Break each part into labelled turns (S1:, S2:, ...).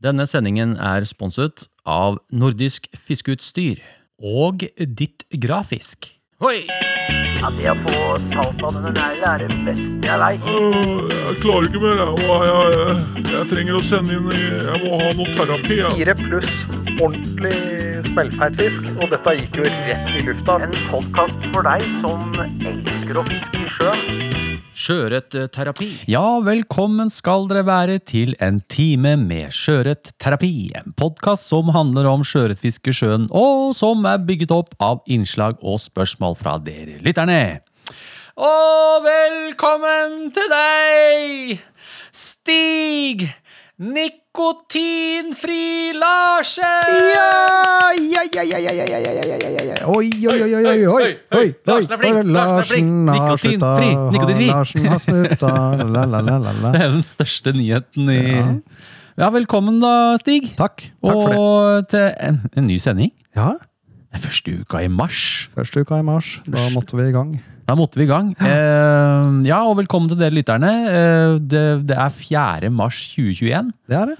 S1: Denne sendingen er sponset av Nordisk Fiskeutstyr.
S2: Og ditt grafisk.
S1: Hoi!
S3: Ja, det å få salt av denne neglen er det beste jeg veit.
S4: Øh, Jeg klarer ikke mer. Jeg, Og jeg, jeg, jeg trenger å sende inn i- Jeg må ha noe terapi. Jeg.
S5: Fire pluss ordentlig smellfeit fisk, og dette gikk jo rett i lufta.
S3: En podkast for deg som elsker å fiske i sjøen.
S1: Sjøørretterapi.
S2: Ja, velkommen skal dere være til en time med Sjøørretterapi. En podkast som handler om sjøørretfiske i sjøen, og som er bygget opp av innslag og spørsmål fra dere lytterne. Og velkommen til deg, Stig Nikotinfri Larsen!
S6: Ja, ja, ja, ja, ja, ja, ja, ja, ja, ja, ja, ja. Oi, oi, oi, oi, oi, oi, oi.
S2: Larsen er flink,
S6: Oi,
S2: Larsen er flink.
S6: Larsen har
S2: Nikotinfri,
S6: slutta, har-
S2: nikotinfri.
S6: Larsen har snutta, la, la, la, la, la.
S2: Det er den største nyheten i Ja, velkommen da, Stig.
S6: Takk, takk for det.
S2: Og til en, en ny sending.
S6: Ja,
S2: Det er første uka i mars.
S6: første uka i mars, da måtte vi i gang.
S2: Da måtte vi i gang. Eh, ja, og velkommen til dere lytterne. Eh, det, det er 4. mars 2021.
S6: Det er det.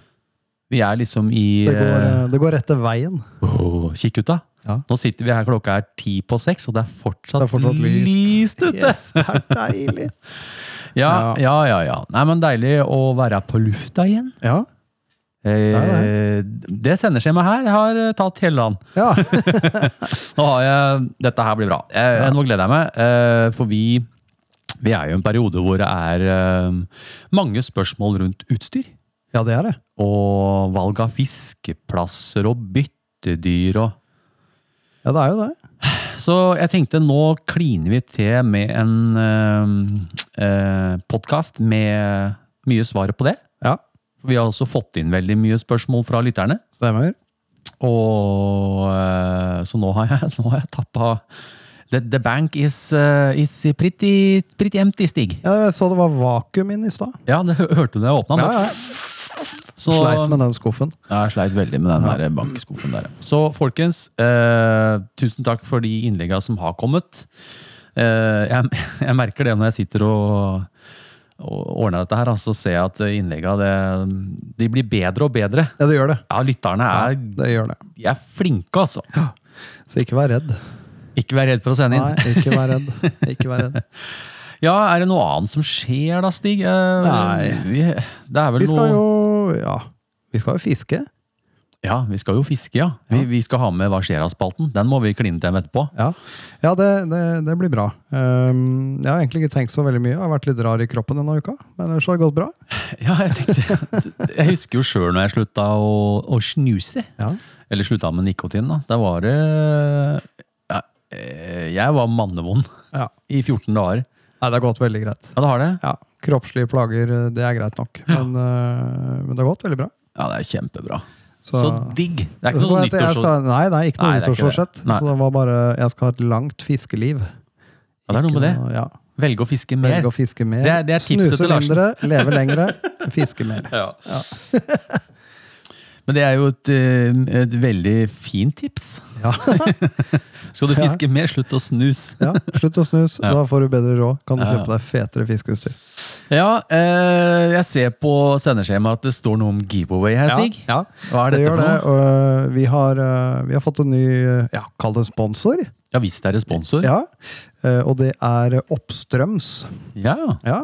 S2: Vi er liksom i
S6: Det går, eh, det går rett til veien.
S2: eh, åh, Kikkhytta.
S6: Ja.
S2: Nå sitter vi her, klokka er ti på seks, og det er fortsatt,
S6: Det er fortsatt lyst.
S2: lyst ute!
S6: Yes, det er deilig.
S2: Ja, ja, ja, ja. Nei, men deilig å være på lufta igjen.
S6: Ja,
S2: Eh, det sendeskjemaet her har eh, tatt hele dagen.
S6: ja.
S2: Nå har jeg, dette her blir bra. Eh, Nå gleder jeg meg, eh, for vi, vi er jo i en periode hvor det er eh, mange spørsmål rundt utstyr.
S6: ja det er det.
S2: Og valg av fiskeplasser og byttedyr og
S6: Ja, det er jo det.
S2: Så jeg tenkte nå kliner vi til med en eh, eh, podkast med mye svar på det.
S6: Ja,
S2: Vi har også fått inn veldig mye spørsmål fra lytterne.
S6: stemmer.
S2: Og eh, så nå har jeg, nå har jeg tappa the, the bank is, eh, is pretty, pretty empty, Stig.
S6: Ja, jeg så det var vakuum inn i stad.
S2: Ja, det hø- hørte du da jeg åpna den.
S6: Ja, ja.
S2: Så,
S6: Sleit med den skuffen.
S2: Ja, jeg sleit veldig med den der bankskuffen der. Så folkens, eh, tusen takk for de innleggene som har kommet. Eh, jeg, jeg merker det når jeg sitter og, og ordner dette her, og så ser jeg at innleggene det- de blir bedre og bedre.
S6: Ja, det gjør det.
S2: Ja, lytterne er,
S6: Det gjør det.
S2: de er flinke, altså.
S6: Så ikke vær redd.
S2: Ikke vær redd for å sende inn.
S6: Nei, ikke vær redd. Ikke vær redd.
S2: Ja, er det noe annet som skjer da, Stig? Eh,
S6: Nei.
S2: Vi, det er vel
S6: Vi skal
S2: noe...
S6: jo Ja, vi skal jo fiske.
S2: Ja, vi skal jo fiske, ja. Vi, vi skal ha med Hva skjer av-spalten. Den må vi kline til med etterpå.
S6: Ja, ja det, det, det blir bra. Ehm, jeg har egentlig ikke tenkt så veldig mye. Jeg har vært litt rar i kroppen denne uka, men ellers har det gått bra.
S2: Ja, jeg tenkte... Jeg husker jo sjøl når jeg slutta å, å snuse.
S6: Ja.
S2: Eller slutta med nikotin, da. Da var det ja, eh, Jeg var mannevond
S6: Ja.
S2: i 14 dager.
S6: Nei, det har gått veldig greit.
S2: Ja, det har det.
S6: Ja, Kroppslige plager, eh, det er greit nok. Men, eh, men det har gått veldig bra.
S2: Ja, det er kjempebra. Så,
S6: Så-
S2: digg. Det er
S6: Så
S2: ikke
S6: kom
S2: noe
S6: jeg til- jeg
S2: nyttårs...
S6: skal- Nei, det
S2: Nei, det er
S6: er ikke noe
S2: ikke
S6: nyttårsforsett.
S2: det. Nei.
S6: Så det var bare Jeg skal ha et langt fiskeliv.
S2: Ja, det er noe med det.
S6: Ikke noe- Ja.
S2: Velge å fiske mer.
S6: Velge å fiske mer.
S2: Det er- det er tipset
S6: Snuse
S2: til Larsen.
S6: mindre, leve lengre, fiske mer.
S2: Ja. Men det er jo et, eh, et veldig fint tips.
S6: Ja.
S2: Skal du fiske mer, slutt å snus.
S6: Ja, Slutt å snuse, da får du bedre råd. Kan du kjøpe deg fetere fiskeutstyr.
S2: Ja, eh, jeg ser på sendeskjemaet at det står noe om giveaway her, Stig.
S6: Ja,
S2: Hva er
S6: det
S2: dette
S6: gjør
S2: for
S6: det.
S2: noe?
S6: Og øh, vi har, øh, vi har fått en ny, øh, ja, kall det sponsor.
S2: Ja, hvis det er sponsor.
S6: Ja. Eh, Og det er Oppstrøms.
S2: Ja.
S6: Ja.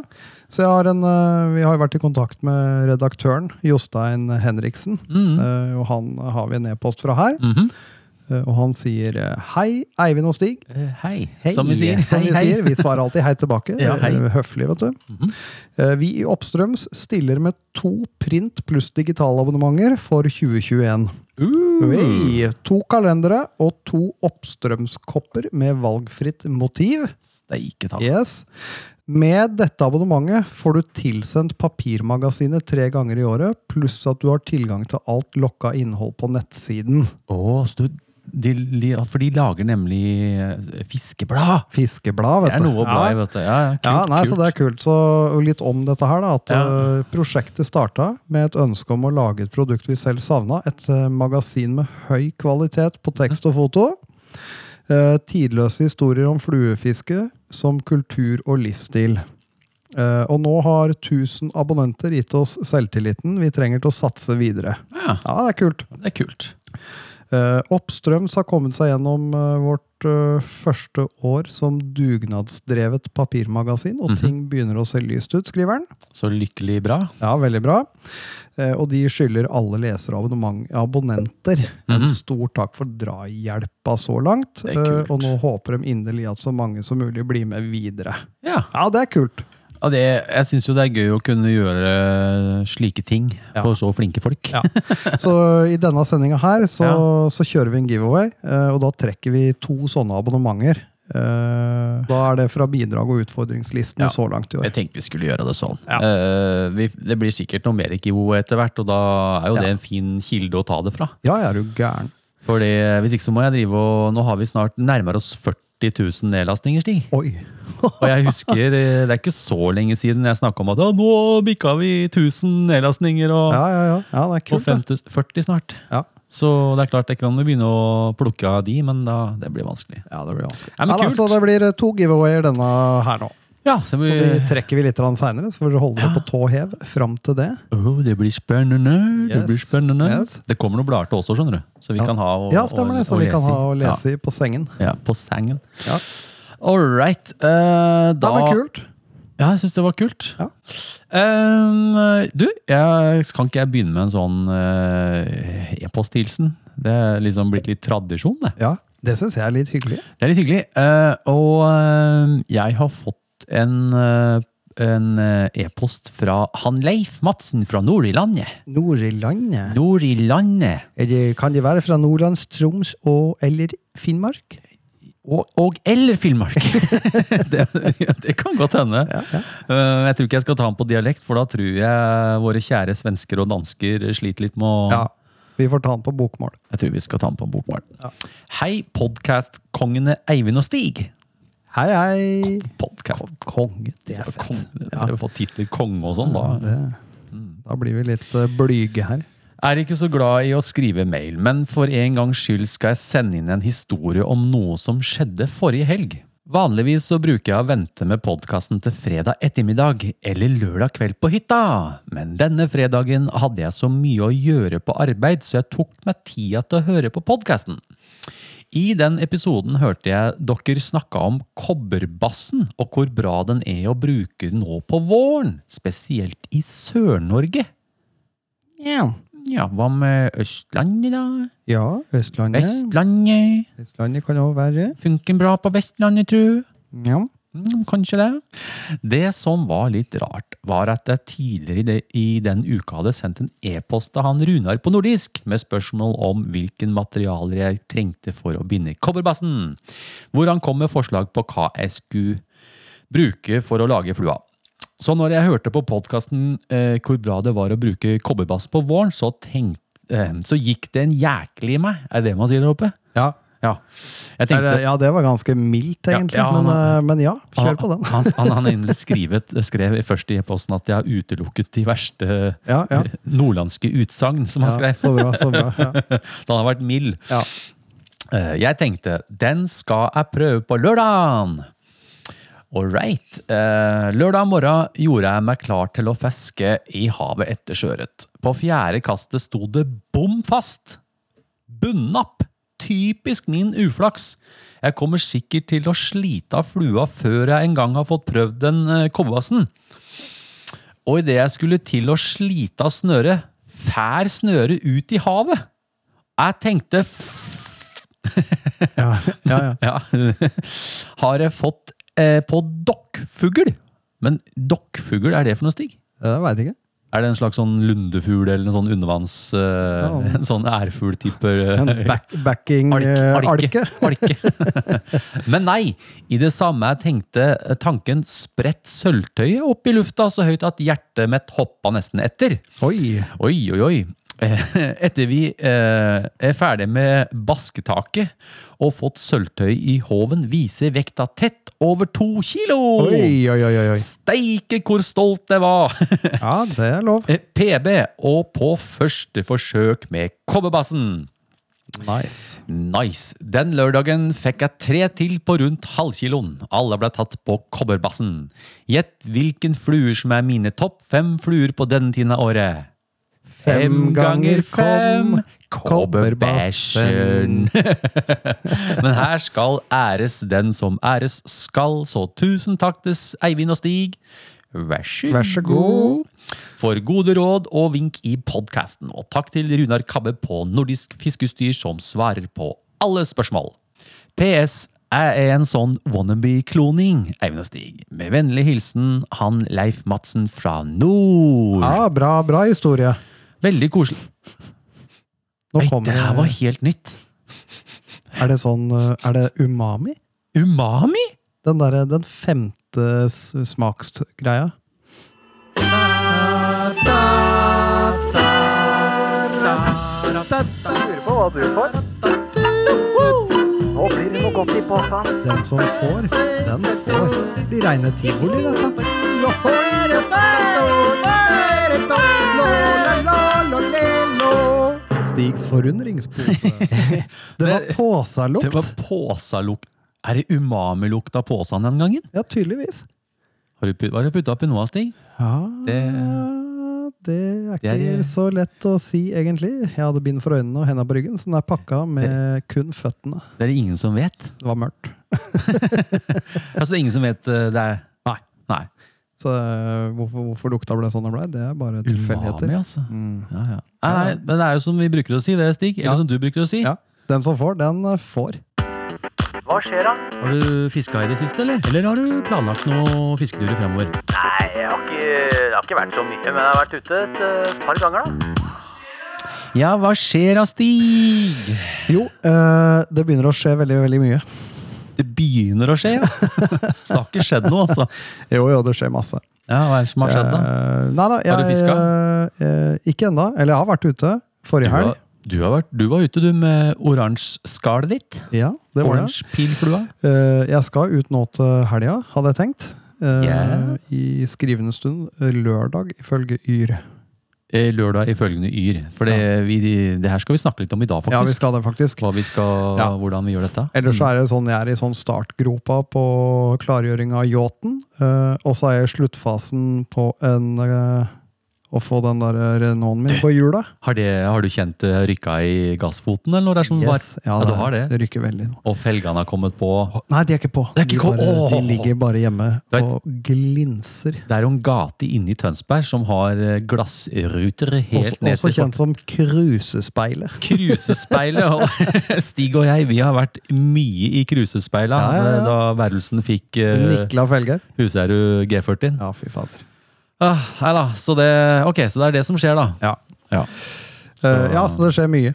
S6: Så jeg har en, øh, vi har jo vært i kontakt med redaktøren, Jostein Henriksen. Eh, Og han har vi en e-post fra her. Eh, Og han sier eh, hei, Eivind og Stig.
S2: Eh, Hei.
S6: Hei,
S2: som vi sier.
S6: Som vi,
S2: hei, hei.
S6: sier. vi svarer alltid hei tilbake.
S2: Ja, hei. Mhm.
S6: Eh, Høflig, vet du. Eh, Vi i Oppstrøms stiller med to print pluss digitalabonnementer for 2021.
S2: Uh.
S6: Oi, to kalendere og to oppstrømskopper med valgfritt motiv.
S2: Steike ta.
S6: Yes. Med dette abonnementet får du tilsendt papirmagasinet tre ganger i året, pluss at du har tilgang til alt lokka innhold på nettsiden.
S2: Å, så du- de, li- ja, for de lager nemlig eh, fiskeblad.
S6: Fiskeblad,
S2: Det
S6: vet
S2: er
S6: du.
S2: noe å bla i, vet du. Ja, ja, kult,
S6: ja, nei,
S2: kult.
S6: så det er kult. Så og litt om dette her, da. At
S2: Ja.
S6: eh, prosjektet starta med et ønske om å lage et produkt vi selv savna. Et eh, magasin med høy kvalitet på tekst og foto. Eh, tidløse historier om fluefiske som kultur og livsstil. Eh, Og nå har 1000 abonnenter gitt oss selvtilliten vi trenger til å satse videre.
S2: Ja,
S6: Ja, det er kult.
S2: det er kult.
S6: Eh, Oppstrøms har kommet seg gjennom eh, vårt eh, første år som dugnadsdrevet papirmagasin,
S2: Mhm.
S6: og ting begynner å se lyst ut, skriver han.
S2: Så lykkelig bra.
S6: Ja, veldig bra. Eh, Og de skylder alle lesere og abonnement- abonnenter en stor takk for drahjelpa så
S2: Mhm.
S6: langt.
S2: Det er kult.
S6: eh, Og nå håper de inderlig at så mange som mulig blir med videre.
S2: Ja.
S6: Ja, det er kult.
S2: Ja, det, jeg syns jo det er gøy å kunne gjøre slike ting for så flinke folk.
S6: Så i denne sendinga her så, så kjører vi en giveaway, eh, og da trekker vi to sånne abonnementer. Eh, Da er det fra bidrag- og utfordringslisten
S2: Ja.
S6: så langt i år.
S2: Jeg tenkte vi skulle gjøre det sånn.
S6: Ja.
S2: Eh, vi, det blir sikkert noe mer giveaway etter hvert, og da er jo
S6: Ja.
S2: det en fin kilde å ta det fra.
S6: Ja, jeg er jo gæren.
S2: Fordi eh, Hvis ikke så må jeg drive og Nå har vi snart nærmere oss 40 000 nedlastninger, Stig.
S6: Oi!
S2: Og jeg husker, eh, det er ikke så lenge siden jeg snakka om at ja, nå bikka vi 1000 nedlastninger, og,
S6: Ja, ja, ja. ja det er
S2: og
S6: kult. det.
S2: 50 40 snart.
S6: Ja.
S2: Så det er klart jeg kan jo begynne å plukke av de, men da, det blir vanskelig.
S6: ja, det blir vanskelig.
S2: Ja, men
S6: Ja, da,
S2: kult.
S6: så det blir eh, to giveawayer denne her nå.
S2: Ja, så
S6: Så
S2: vi,
S6: de trekker vi litt seinere, for å holde det på tå hev fram til det.
S2: Åh, det blir spennende. Det
S6: Yes,
S2: blir spennende.
S6: yes.
S2: Det kommer noen blader til oss også, skjønner du. Så vi kan ha å,
S6: ja, stemmer det.
S2: å-
S6: Så
S2: å
S6: vi kan
S2: lese i.
S6: ha å lese i på sengen.
S2: Ja, ja, på sengen.
S6: Ja.
S2: All right. eh,
S6: Ja,
S2: da
S6: men kult.
S2: Ja, jeg syns det var kult.
S6: Ja.
S2: Eh, du, jeg, kan ikke jeg begynne med en sånn eh, e-posthilsen? Det er liksom blitt litt tradisjon, det.
S6: Ja, det syns jeg er litt hyggelig.
S2: Det er litt hyggelig. Eh, og eh, jeg har fått en eh, en eh, e-post fra han Leif Madsen fra Nord-i-landet.
S6: Nord i landet.
S2: Nord-i-landet.
S6: Er det- Kan de være fra Nordlands, Troms og eller Finnmark?
S2: Og, og eller Finnmark. det, det kan godt hende. Eh, Jeg tror ikke jeg skal ta den på dialekt, for da tror jeg våre kjære svensker og dansker sliter litt med å
S6: Ja. Vi får ta den på bokmål.
S2: Jeg tror vi skal ta den på bokmål. Hei, podkastkongene Eivind og Stig.
S6: Hei, hei!
S2: Podcast.
S6: Konge, det er
S2: Ja,
S6: fett.
S2: Kong, Dere har fått titler konge og sånn, da.
S6: Ja, det,
S2: Mm.
S6: da blir vi litt eh, blyge her.
S2: Er ikke så glad i å skrive mail, men for en gangs skyld skal jeg sende inn en historie om noe som skjedde forrige helg. Vanligvis så bruker jeg å vente med podkasten til fredag ettermiddag eller lørdag kveld på hytta, men denne fredagen hadde jeg så mye å gjøre på arbeid, så jeg tok meg tida til å høre på podkasten. I den episoden hørte jeg dere snakka om kobberbassen og hvor bra den er å bruke nå på våren, spesielt i Sør-Norge.
S6: Ja.
S2: Ja, hva med Østlandet, da?
S6: Ja, Østlandet.
S2: Vestlandet?
S6: Østlandet kan òg være.
S2: Funker bra på Vestlandet, tru?
S6: Ja.
S2: Mm, kanskje det. Det som var litt rart, var at jeg tidligere i, det, i den uka hadde sendt en e-post til han Runar på nordisk med spørsmål om hvilken materialer jeg trengte for å binde kobberbassen, hvor han kom med forslag på hva jeg skulle bruke for å lage flua. Så når jeg hørte på podkasten eh, hvor bra det var å bruke kobberbass på våren, så, tenkte, eh, så gikk det en jæklig i meg. Er det det man sier der oppe?
S6: Ja.
S2: Ja. Jeg
S6: Er
S2: tenkte,
S6: det, ja, det var ganske mildt,
S2: Ja,
S6: egentlig.
S2: ja, han-
S6: men, eh, men ja, kjør på den.
S2: Han, han, han har nemlig skrevet, skrev først i posten at jeg har utelukket de verste eh,
S6: Ja, ja.
S2: nordlandske utsagn som han
S6: Ja,
S2: skrev.
S6: så bra, så bra. Ja.
S2: Så han har vært mild.
S6: Ja.
S2: Eh, Jeg tenkte, den skal jeg prøve på lørdagen! Alright. Eh, lørdag morgen gjorde jeg meg klar til å feske i havet etter sjøørret. På fjerde kastet sto det bom fast! Bunnapp! Typisk min uflaks. Jeg kommer sikkert til å slite av flua før jeg en gang har fått prøvd den eh, kobberbassen. Og idet jeg skulle til å slite av snøret, fær snøret ut i havet. Jeg tenkte
S6: Ja, ja, ja.
S2: ja. Har jeg fått eh, på dokkfugl. Men dokkfugl, er det for noe, Stig?
S6: Det veit jeg ikke.
S2: Er det en slags sånn lundefugl eller en sånn undervanns... Eh, En sånn ærfugltype?
S6: En
S2: eh,
S6: back, backing
S2: Alk-
S6: eh,
S2: alke.
S6: alke.
S2: Alke. Men nei, i det samme jeg tenkte eh, tanken spredt sølvtøyet opp i lufta så høyt at hjertet mitt hoppa nesten etter.
S6: Oi!
S2: Oi, oi, oi. Eh, Etter vi eh, er ferdig med basketaket og fått sølvtøy i hoven, viser vekta tett over to kilo!
S6: Oi, oi, oi, oi, oi.
S2: Steike hvor stolt jeg var!
S6: Ja, det er lov.
S2: Eh, PB, og på første forsøk med kobberbassen. Nice. Nice. Den lørdagen fikk jeg tre til på rundt halvkiloen. Alle ble tatt på kobberbassen. Gjett hvilken fluer som er mine topp fem fluer på denne tiden av året.
S6: Fem ganger fem,
S2: kobberbassen. Men her skal æres den som æres skal, så tusen takk til Eivind og Stig. Vær så,
S6: Vær så god.
S2: For gode råd og vink i podkasten. Og takk til Runar Kabbe på Nordisk Fiskeutstyr, som svarer på alle spørsmål. PS. Jeg er en sånn wannabe-kloning, Eivind og Stig. Med vennlig hilsen han Leif Madsen fra nord.
S6: Ja, bra, bra historie.
S2: Veldig koselig.
S6: Nå
S2: Nei,
S6: kommer
S2: det her var helt nytt.
S6: Er det sånn eh, Er det umami?
S2: Umami?
S6: Den derre Den femte s- smaksgreia.
S5: Lurer på hva du får.
S3: Nå blir det noe godt i posen.
S6: Den som får, den får. Det blir reine tivoli, dette. Stigs forundringspose. Det var
S2: Det var
S6: påsalukt.
S2: påsalukt. Er det umami-lukt av påsen den gangen?
S6: Ja, tydeligvis.
S2: Har du put, har du putta oppi noe, Stig?
S6: Ja, Ah, det er
S2: Det er-
S6: ikke så lett å si, egentlig. Jeg hadde bind for øynene og hendene på ryggen, så den er pakka med kun føttene.
S2: Det er det ingen som vet.
S6: Det var mørkt.
S2: Altså, det er ingen som vet eh, det er Nei. Nei.
S6: Så eh, hvorfor, hvorfor lukta ble sånn den ble, det er bare tilfeldigheter.
S2: Umami, altså. Ja, ja. Nei, nei, men det er jo som vi bruker å si, det, Stig. Eller
S6: Ja.
S2: som du bruker å si.
S6: Ja. Den som får, den eh, får.
S3: Hva skjer da?
S1: Har du fiska i det siste, eller? Eller har du planlagt noen fisketurer fremover?
S3: Nei, jeg har ikke, det har ikke vært så mye, men jeg har vært ute et eh, par ganger da.
S2: Ja, hva skjer da, Stig?
S6: Jo, eh, det begynner å skje veldig, veldig mye.
S2: Det begynner å skje, ja. Så det har ikke skjedd noe, altså.
S6: Jo, jo, det skjer masse.
S2: Ja, hva er det som har skjedd, da?
S6: Eh, nei da, jeg
S2: Har du
S6: eh, eh, Ikke ennå. Eller jeg har vært ute forrige
S2: Du,
S6: helg.
S2: har, du, har vært, du var ute, du, med oransje skallet ditt.
S6: Ja, det var det.
S2: Oransje pilflua.
S6: Eh, jeg skal ut nå til helga, hadde jeg tenkt. Eh,
S2: Ja.
S6: I skrivende stund eh, lørdag, ifølge Yr.
S2: Eh, Lørdag ifølgende yr. For det, vi, det her skal vi snakke litt om i dag,
S6: Ja, vi
S2: faktisk.
S6: skal det, faktisk.
S2: Hva vi skal,
S6: Ja.
S2: Hvordan vi gjør dette.
S6: Ellers så er det sånn jeg er i sånn startgropa på klargjøring av yachten. eh, og så er jeg i sluttfasen på en eh, Å få den der Renaulten min på hjula.
S2: Har, det, har du kjent det rykka i gassfoten, eller noe der som var?
S6: Yes,
S2: Ja,
S6: det
S2: du
S6: er-
S2: har det.
S6: Det rykker veldig nå.
S2: Og felgene har kommet på.
S6: Nei, de er ikke på.
S2: Det er ikke
S6: de,
S2: ko-
S6: bare, de
S2: Åh.
S6: ligger bare hjemme
S2: Det er-
S6: og glinser.
S2: Det er jo en gate inne i Tønsberg som har eh, glassruter helt
S6: Også,
S2: ned
S6: også
S2: til
S6: kjent som krusespeilet.
S2: Krusespeilet. og Stig og jeg vi har vært mye i krusespeilet
S6: Ja, ja, ja.
S2: da værelsen fikk uh,
S6: Nikla Felger.
S2: Husherud G40.
S6: Ja, fy fader.
S2: Ah, nei da, så det, ok, så det er det som skjer, da.
S6: Ja.
S2: Ja,
S6: Eh, ja, så det skjer mye.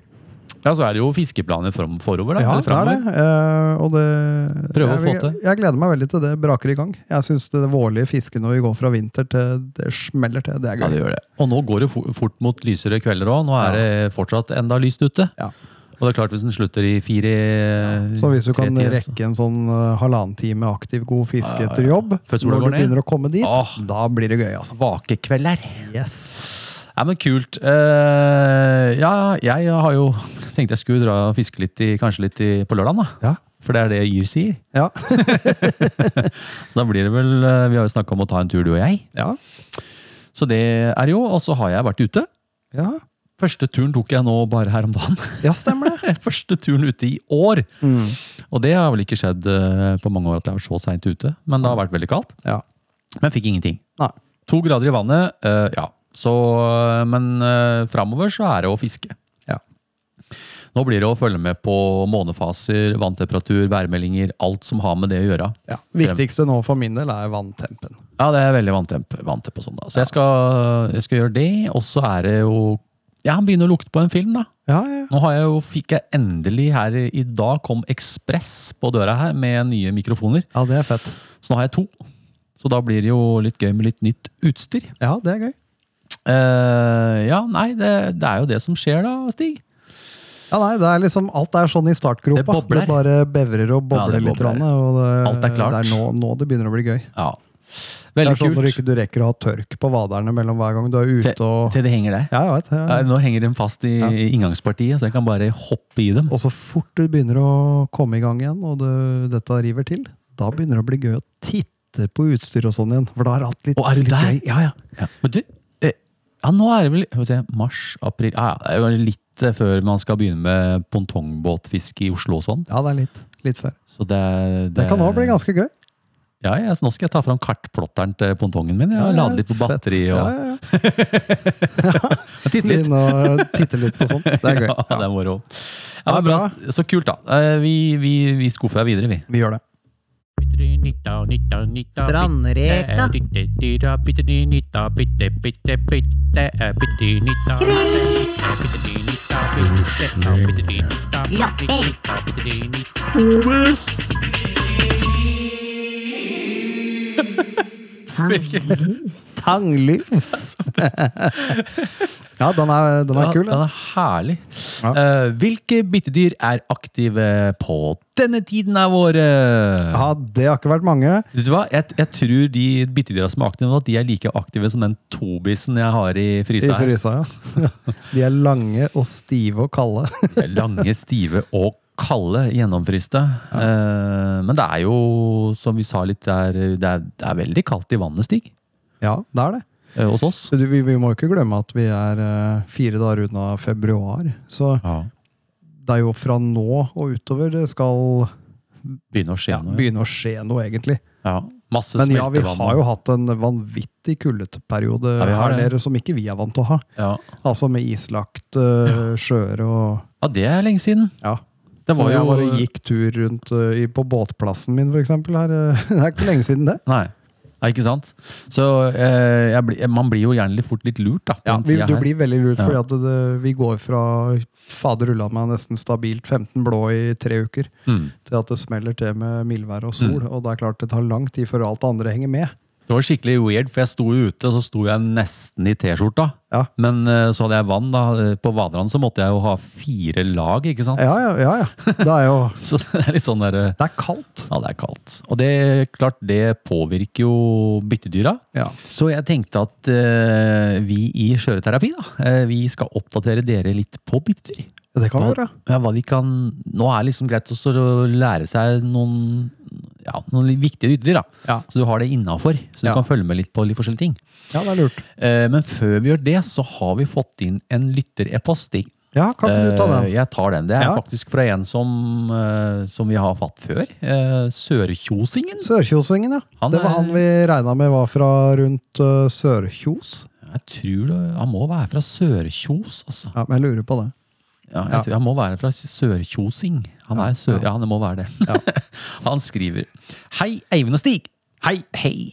S2: Så er det jo fiskeplaner fram- forover. da,
S6: Ja,
S2: eller
S6: det er det.
S2: framover.
S6: Eh, og det
S2: Prøve å
S6: jeg,
S2: få til.
S6: Jeg gleder meg veldig til det braker i gang. Jeg syns det vårlige fisket når vi går fra vinter til det smeller til, det er gøy.
S2: Ja, det gjør det. Og nå går det fo- fort mot lysere kvelder òg. Nå er det fortsatt enda lyst ute.
S6: Ja.
S2: Og det er klart hvis den slutter i fire
S6: Så hvis du
S2: tre
S6: kan
S2: tider, så-
S6: rekke en sånn eh, halvannen time aktiv, god fiske etter jobb,
S2: Før sola går
S6: når du
S2: ned.
S6: begynner å komme dit,
S2: Åh.
S6: da blir det gøy, altså.
S2: Vakekvelder.
S6: Yes.
S2: Ja, men kult. Eh, ja, jeg har jo tenkt jeg skulle dra og fiske litt i, kanskje litt i, på lørdagen, da.
S6: Ja.
S2: For det er det Yr sier.
S6: Ja.
S2: Så da blir det vel eh, Vi har jo snakka om å ta en tur, du og jeg.
S6: ja.
S2: Så det er jo. Og så har jeg vært ute.
S6: Ja.
S2: Første turen tok jeg nå bare her om dagen.
S6: ja, stemmer det.
S2: Første turen ute i år. Og det har vel ikke skjedd eh, på mange år at jeg har vært så seint ute. Men det har vært veldig kaldt.
S6: Ja.
S2: Men fikk ingenting.
S6: Nei.
S2: To grader i vannet, eh, ja. Så, eh, men uh, framover så er det å fiske.
S6: Ja.
S2: Nå blir det å følge med på månefaser, vanntemperatur, værmeldinger, alt som har med det å gjøre.
S6: Ja. Viktigste nå for min del er vanntempen.
S2: Ja, det er veldig vanntemp, vanntemp og sånn da. Så jeg, skal, jeg skal gjøre det, og så er det jo... Ja, han begynner å lukte på en film da.
S6: Ja, ja.
S2: Nå har jeg jo, fikk jeg endelig her i i dag kom Express på døra her med nye mikrofoner.
S6: ja, det er fett.
S2: Så nå har jeg to. Så da blir det jo litt gøy med litt nytt utstyr.
S6: Ja, det er gøy.
S2: Eh, ja, nei, det, det er jo det som skjer da, Stig.
S6: Ja, nei, det er liksom, Alt er sånn i startgropa.
S2: Det bobler.
S6: Det bare bevrer og
S2: Ja,
S6: bobler
S2: det
S6: litt.
S2: bobler.
S6: Rann, og det,
S2: Alt er klart.
S6: Det er nå, nå det begynner å bli gøy.
S2: Ja.
S6: Det
S2: Veldig
S6: er sånn når du
S2: kult.
S6: ikke du rekker å ha tørk på vaderne mellom hver gang du er
S2: Se,
S6: ute og
S2: se, det henger der.
S6: Ja, jeg vet. Ja.
S2: Eh, Nå henger de fast i i inngangspartiet, så jeg kan bare hoppe i dem.
S6: Og så fort du begynner å komme i gang igjen, og du, dette river til, da begynner det å bli gøy å titte på utstyr og sånn igjen. For da er alt litt,
S2: Å, er du
S6: litt
S2: der?
S6: gøy. Ja, ja.
S2: Ja. Men du, eh, ja, nå er det vel hva skal jeg si, mars, april ja, ja, Det er jo litt eh, før man skal begynne med pongtongbåtfiske i Oslo og sånn.
S6: ja, det er litt, litt før.
S2: Så det, det,
S6: Det kan òg bli ganske gøy.
S2: Ja, ja, så nå skal jeg ta fram kartplotteren til pongtongen min. Ja,
S6: Ja,
S2: lade litt på
S6: fett.
S2: batteri og
S6: Ja, ja, ja.
S2: titte litt.
S6: Begynne å titte litt på sånt. Det er gøy.
S2: Ja, det er moro. Ja,
S6: Ja,
S2: men bra. Så kult, da. Eh, Vi, vi, vi skuffer deg videre, vi.
S6: Vi gjør det.
S3: eh,
S7: Strandreka.
S3: eh, eh,
S6: Tanglys! ja, den er, den er
S2: Ja,
S6: kul. Den.
S2: den er herlig.
S6: Ja.
S2: Eh, hvilke byttedyr er aktive på denne tiden av året?
S6: Ja, det har ikke vært mange.
S2: Vet du hva? Jeg, jeg tror de byttedyra som er aktive nå, de er like aktive som den tobisen jeg har i
S6: I
S2: frysa. her.
S6: frysa, ja. De er lange og stive og kalde.
S2: De er Lange, stive og kalde, gjennomfryste. Eh, men det er jo, som vi sa litt, det er, det er, det er veldig kaldt i vannet, Stig.
S6: Ja, det er det.
S2: eh, hos oss.
S6: Så du- Vi, vi må jo ikke glemme at vi er eh, fire dager unna februar. Så
S2: Ja.
S6: det er jo fra nå og utover det skal
S2: Begynner å skje
S6: ja,
S2: noe.
S6: begynne å skje noe, egentlig.
S2: Ja. Masse
S6: Men ja, vi
S2: smeltevann.
S6: har jo hatt en vanvittig kuldeperiode
S2: Ja, vi har
S6: her
S2: det.
S6: nede som ikke vi er vant til å ha.
S2: ja.
S6: Altså med islagt uh, sjøer og
S2: ja, det er lenge siden.
S6: Ja.
S2: Det
S6: Så
S2: var
S6: jeg
S2: jo
S6: bare gikk tur rundt eh, i- på båtplassen min, for eksempel. Her. eh, Det er ikke lenge siden det.
S2: Nei. Nei, ikke sant? Så eh, jeg, blir- man blir jo gjerne litt fort litt lurt, da. På
S6: Ja,
S2: den
S6: vi,
S2: tida
S6: du
S2: her.
S6: blir veldig lurt,
S2: Ja.
S6: fordi at det, vi går fra fader ulla meg nesten stabilt 15 blå i tre uker,
S2: Mm.
S6: til at det smeller til med mildvær og sol. Og det er klart det tar lang tid før alt det andre henger med.
S2: Det var skikkelig weird, for jeg sto jo ute, og så sto jeg nesten i T-skjorta.
S6: Ja.
S2: Men eh, så hadde jeg vann, da. eh, På vaderne så måtte jeg jo ha fire lag, ikke sant?
S6: Ja, ja, ja. ja. Det er jo
S2: Så det er litt sånn der eh,
S6: Det er kaldt.
S2: Ja, det er kaldt. Og det er klart, det påvirker jo byttedyra.
S6: Ja.
S2: Så jeg tenkte at eh, vi i Skjøreterapi, da, eh, vi skal oppdatere dere litt på byttedyr.
S6: Det kan
S2: Hva-
S6: være.
S2: Ja, hva de kan, nå er det liksom greit også å lære seg noen, ja, noen litt viktige byttedyr. Da.
S6: Ja.
S2: Så du har det innafor, så du
S6: Ja.
S2: kan følge med litt på litt forskjellige ting.
S6: Ja, det er lurt.
S2: Eh, Men før vi gjør det, så har vi fått inn en lytterepost. Stig.
S6: Ja, kan ikke du ta
S2: Eh,
S6: den?
S2: Jeg tar den. Det er
S6: Ja.
S2: faktisk fra en som, eh, som vi har hatt før. eh, Sørkjosingen.
S6: Sørkjosingen, ja.
S2: Han
S6: Det
S2: er-
S6: var han vi regna med var fra rundt eh, Sørkjos.
S2: Jeg tror det, han må være fra Sørkjos, altså.
S6: Ja, men jeg lurer på det.
S2: Ja, jeg
S6: Ja.
S2: Tror, han må være fra Sørkjosing. Han er sør, ja, han må være det. han skriver Hei, Eivind og Stig. Hei, hei.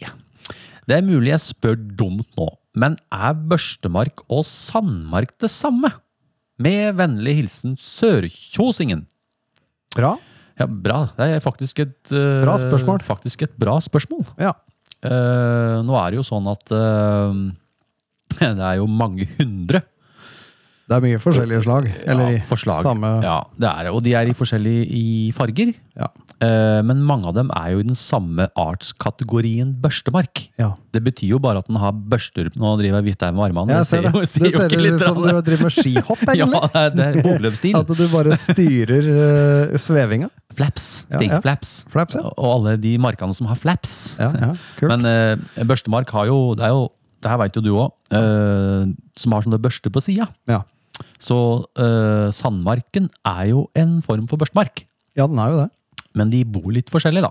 S2: Det er mulig jeg spør dumt nå, men er børstemark og sandmark det samme? Med vennlig hilsen Sørkjosingen.
S6: Bra.
S2: Ja, bra. Det er faktisk et, eh,
S6: Bra spørsmål.
S2: Faktisk et bra spørsmål.
S6: Ja.
S2: Eh, nå er det jo sånn at eh, det er jo mange hundre
S6: Det er mye forskjellige slag. Eller
S2: ja, forslag.
S6: samme ja.
S2: Ja, det er det. Og de er i forskjellige i farger.
S6: Ja.
S2: Eh, Men mange av dem er jo i den samme artskategorien børstemark.
S6: ja.
S2: Det betyr jo bare at den har børster Nå driver jeg og vifter med armene.
S6: Jeg
S2: det ser jo,
S6: det.
S2: ser jo
S6: det
S2: ikke
S6: ser
S2: litt
S6: ut som du
S2: rann-
S6: driver med skihopp, egentlig.
S2: Ja, det er bobløpstil.
S6: At du bare styrer eh, svevinga.
S2: Flaps.
S6: Ja,
S2: Sting
S6: ja.
S2: flaps.
S6: Flaps, ja.
S2: Og alle de markene som har flaps.
S6: Ja, ja, kult.
S2: Men eh, børstemark har jo Det er jo det her veit jo du òg, som har sånne børster på sida.
S6: Ja.
S2: Så eh, sandmarken er jo en form for børstemark.
S6: ja, den er jo det.
S2: Men de bor litt forskjellig, da.